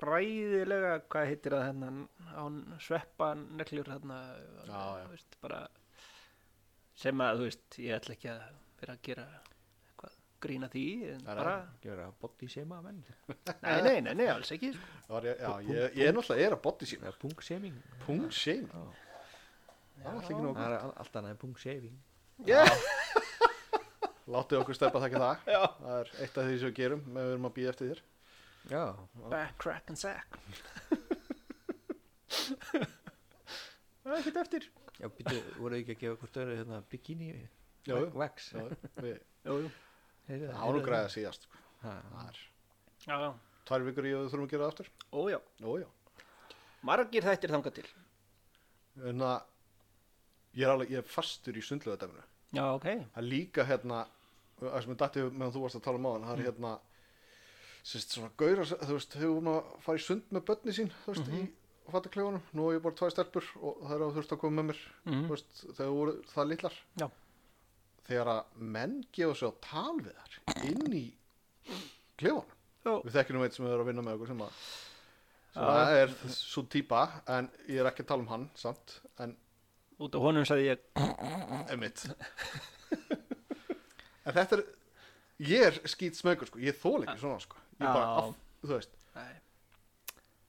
Speaker 3: ræðilega hvað heitir það hennan án sveppa nekljur hérna
Speaker 2: Já, já.
Speaker 3: þú veist, bara sem að, þú veist, ég ætla ekki að vera að gera eitthvað grína því en
Speaker 2: Nei, nei.
Speaker 3: bara,
Speaker 4: gera body shame að menn
Speaker 3: nei, nei, nei, nei, alls ekki sko.
Speaker 2: Það var ég, Já, ég, ég er náttúrulega er að boddi sín
Speaker 4: eða punk shaming
Speaker 2: Punkt shame
Speaker 4: Já.
Speaker 2: Það var alltaf ekki nóg
Speaker 4: það er al- allt annað en punk shaving
Speaker 2: Láttu okkur steppa þekki það Það er eitt af því sem við gerum með við erum að býja eftir þér
Speaker 4: já
Speaker 3: back, crack and sack það er ekkert eftir
Speaker 4: já býtu voru ekki að gefa hvort öðru hérna bikini
Speaker 2: Já, já.
Speaker 4: wax
Speaker 2: Já, við-
Speaker 3: jú, jú.
Speaker 4: Heyrðu það,
Speaker 2: Það var nú
Speaker 4: heyrðu
Speaker 2: græða síðast sko.
Speaker 4: það. Ha,
Speaker 2: Það er
Speaker 3: já, já,
Speaker 2: Tvær vikur í að við þurfum að gera það aftur
Speaker 3: ójá
Speaker 2: Ó, já
Speaker 3: margir þættir þangað til
Speaker 2: En að Hérna, ég er alveg, ég er fastur í sundlega
Speaker 3: já, ok,
Speaker 2: það er líka hérna það sem ég dætti meðan þú varst að tala um á hann það
Speaker 3: Mm.
Speaker 2: er hérna sérst, svona gaurar, sem- þú veist, þau vorum að fara í sund með börni sín, þú veist,
Speaker 3: Mhm.
Speaker 2: í fattaklefunum nú er ég bara tvær stelpur og það er að þurft að koma með mér,
Speaker 3: Mhm.
Speaker 2: þú veist, þau voru það litlar
Speaker 3: Já.
Speaker 2: þegar að menn gefa sig á tal við þar inn í klefunum
Speaker 3: Já.
Speaker 2: við þekkinum eitt sem við erum að vinna með okkur sem að sem
Speaker 3: Já.
Speaker 2: að er svo típa en ég er ekki að tala um hann samt, en
Speaker 3: út af honum sagði ég
Speaker 2: Einmitt. en þetta er ég er skýt smögur sko, ég þól ekki svona sko ég bara,
Speaker 3: Já.
Speaker 2: af, þú veist,
Speaker 3: nei,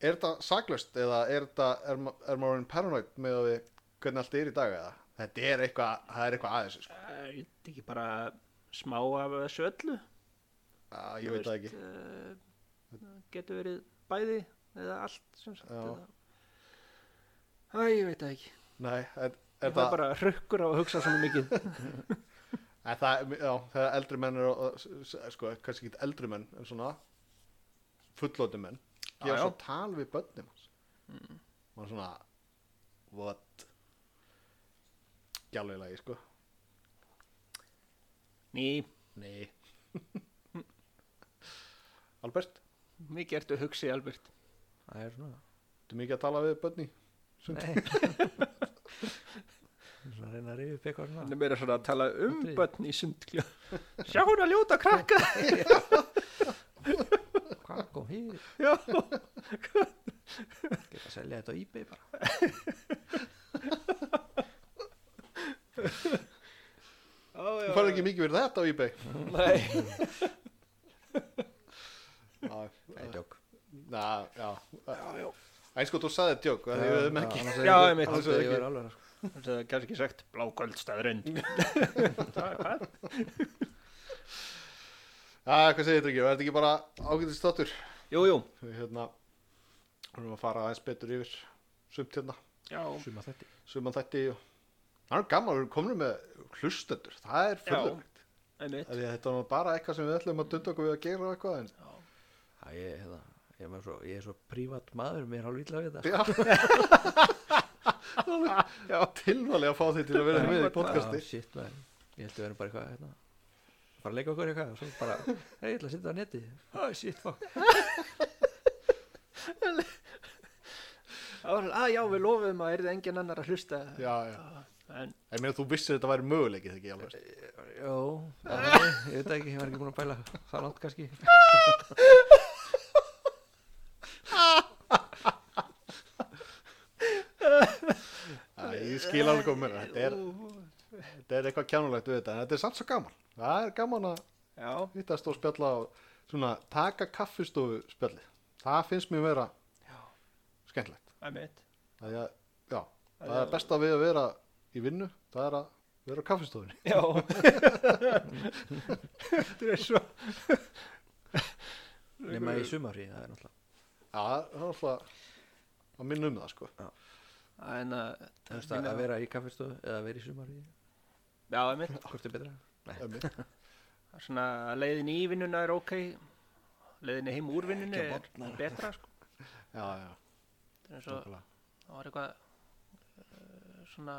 Speaker 2: er þetta saklaust eða er þetta, er, ma- er maður orðinn paranoid með að við, hvernig allt er í dag eða þetta er eitthvað, það er eitthvað aðeins sko.
Speaker 3: eh, ég veit ekki bara smá af þessu öllu
Speaker 2: að, ég veit það ekki
Speaker 3: uh, getur verið bæði eða allt sem sagt
Speaker 2: Já.
Speaker 3: eða... Æ, ég veit það ekki
Speaker 2: Nei, er,
Speaker 3: ég
Speaker 2: er
Speaker 3: fæ
Speaker 2: það,
Speaker 3: bara hrökkur á að hugsa svona mikið
Speaker 2: en það, já, þegar eldri menn er, sko, kannski ekki eldri menn en svona fullóti menn
Speaker 3: Já, já.
Speaker 2: gefa
Speaker 3: Mm.
Speaker 2: svo tal við börnum hans maður svona what gjálfilegi sko
Speaker 3: ný,
Speaker 2: Nei Albert,
Speaker 3: mikið ertu að hugsa í Albert
Speaker 4: það er svona
Speaker 2: þú mikið að tala við bönni
Speaker 4: Nei Svona að reyna að rifja upp eitthvað
Speaker 3: hann
Speaker 4: svona
Speaker 3: er meira svona að tala um
Speaker 4: Aldrei.
Speaker 3: börn í sundkljó sjá hún að ljóta krakka
Speaker 4: Hvað kom hér?
Speaker 3: já,
Speaker 4: Geta að selja þetta á eBay bara
Speaker 3: já, já,
Speaker 2: Þú farið ekki mikið fyrir þetta á eBay
Speaker 3: nei,
Speaker 4: Nei, djók
Speaker 2: Na, já En sko, þú sagði djók Það er við ekki
Speaker 3: Já, einmitt.
Speaker 4: Það er yfir alveg sko.
Speaker 3: það er kannski sagt bláköldstæðrönd hvað?
Speaker 2: Já, hvað segir þetta ekki? Er þetta ekki bara ágætist þáttur?
Speaker 3: jú, jú,
Speaker 2: Við hérna Við erum að fara aðeins betur yfir Sumt hérna,
Speaker 3: já,
Speaker 4: Suma þetta
Speaker 2: suman þætti og Það er gaman, við erum komin með hlustendur Það er fyrðurlegt
Speaker 3: einmitt
Speaker 2: Þetta var nú bara eitthvað sem við ætlum að dunda okkur við að gera og eitthvað en
Speaker 4: Já, ég, hérna, ég, er með svo, ég er svo prívat maður Mér er hálf illa við þetta
Speaker 2: Já Tilvalið að fá þig til að vera með í podcasti
Speaker 4: Já, Shit, maður Ég held að vera bara eitthvað hérna. Bara að leika okkur eitthvað og Svo bara Nei, ég ætla að setja á neti Ó, shit, fuck
Speaker 3: Það var alveg, að já, við lofum að erði engin annar að hlusta
Speaker 2: Já, já
Speaker 3: en
Speaker 2: Ég meina þú vissir þetta væri möguleiki þegar ekki alveg
Speaker 4: Jó, já, ég veit það ekki Ég var ekki búin að bæla það langt kannski
Speaker 2: Æ, Ég skil alveg komið Þetta er, þetta er eitthvað kjánulegt við þetta en þetta er samt svo gaman það er gaman að
Speaker 3: Já,
Speaker 2: hittast og spjalla og svona taka kaffistofu spjallið það finnst mér vera skemmtilegt
Speaker 3: emitt.
Speaker 2: það er, já,
Speaker 3: Það
Speaker 2: það
Speaker 3: er-
Speaker 2: er besta við að vera í vinnu það er að vera á kaffistofunni
Speaker 3: Já. Þetta er svo...
Speaker 4: nema í sumari, það er náttúrulega
Speaker 2: já, það er alltaf að minna um það sko
Speaker 3: En uh, að...
Speaker 4: Þú veist að, að vera í kaffistofu eða að vera í sumari,
Speaker 3: Já, emitt.
Speaker 4: hvort er betra
Speaker 2: Einmitt.
Speaker 3: Svona leiðin í vinnuna er ok. Leiðin heim úr vinnunni er betra, sko.
Speaker 2: já, já,
Speaker 3: Þetta er svo...
Speaker 2: nákvæmlega
Speaker 3: það var eitthvað uh, svona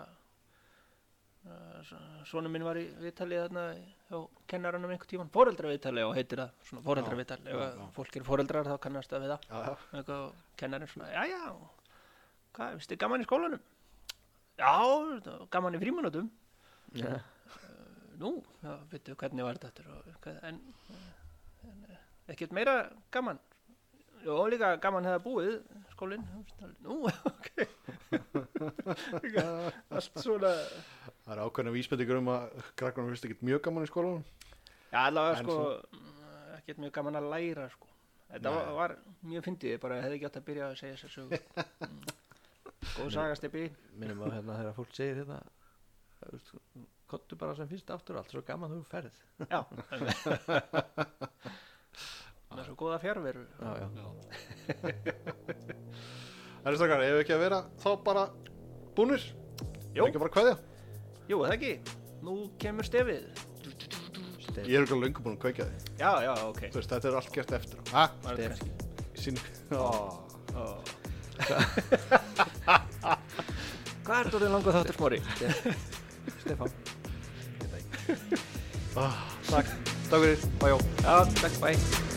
Speaker 3: uh, svona minn var í viðtalið þarna hjá kennaranum einhvern tíman fóreldraviðtalið og heitir það svona fóreldraviðtalið
Speaker 2: Já,
Speaker 3: ef
Speaker 2: já.
Speaker 3: að fólk er fóreldrar þá kannast það við það
Speaker 2: já, já,
Speaker 3: eitthvað og kennarinn svona já já hvað finnst þið gaman í skólanum já þetta var gaman í frímanótum
Speaker 4: Já.
Speaker 3: nú já veitu hvernig var þetta aftur og, hvað, en, en eh, ekkert meira gaman og líka gaman hefða búið skólinn þú veist, alveg, nú ok Líka, allt svona já
Speaker 2: það er ákveðna vísbendingur um að krakkanum finnst ekkert mjög gaman í skólanum
Speaker 3: allavega
Speaker 2: En
Speaker 3: sko mm, ekkert mjög gaman að læra sko þetta var,
Speaker 2: Nei.
Speaker 3: var mjög fyndið ég bara hefði ekki átt að byrja að segja þess að sögu Mm. góð sagastepi
Speaker 4: minnum á hérna þegar fólk segir hérna þú veist, kottu bara sem fyrst aftur og allt svo gaman þú ferð
Speaker 3: já það er svo góða fjárveru
Speaker 4: já, já.
Speaker 2: það er strakkar, ef ekki að vera þá bara búnir
Speaker 3: Jó.
Speaker 2: ekki bara kveðja
Speaker 3: jú það ekki, nú kemur stefið
Speaker 4: Stef,
Speaker 2: ég er ekki löngum búin að kveikja því
Speaker 3: já já ok
Speaker 2: Þú veist, þetta er allt gert eftir á ha,
Speaker 3: Var þetta kannski-
Speaker 2: sín, á,
Speaker 3: Ó. hvað er þetta langur þáttur smári
Speaker 4: Stefán
Speaker 2: á, takk, takk fyrir bæjó
Speaker 3: já takk bæ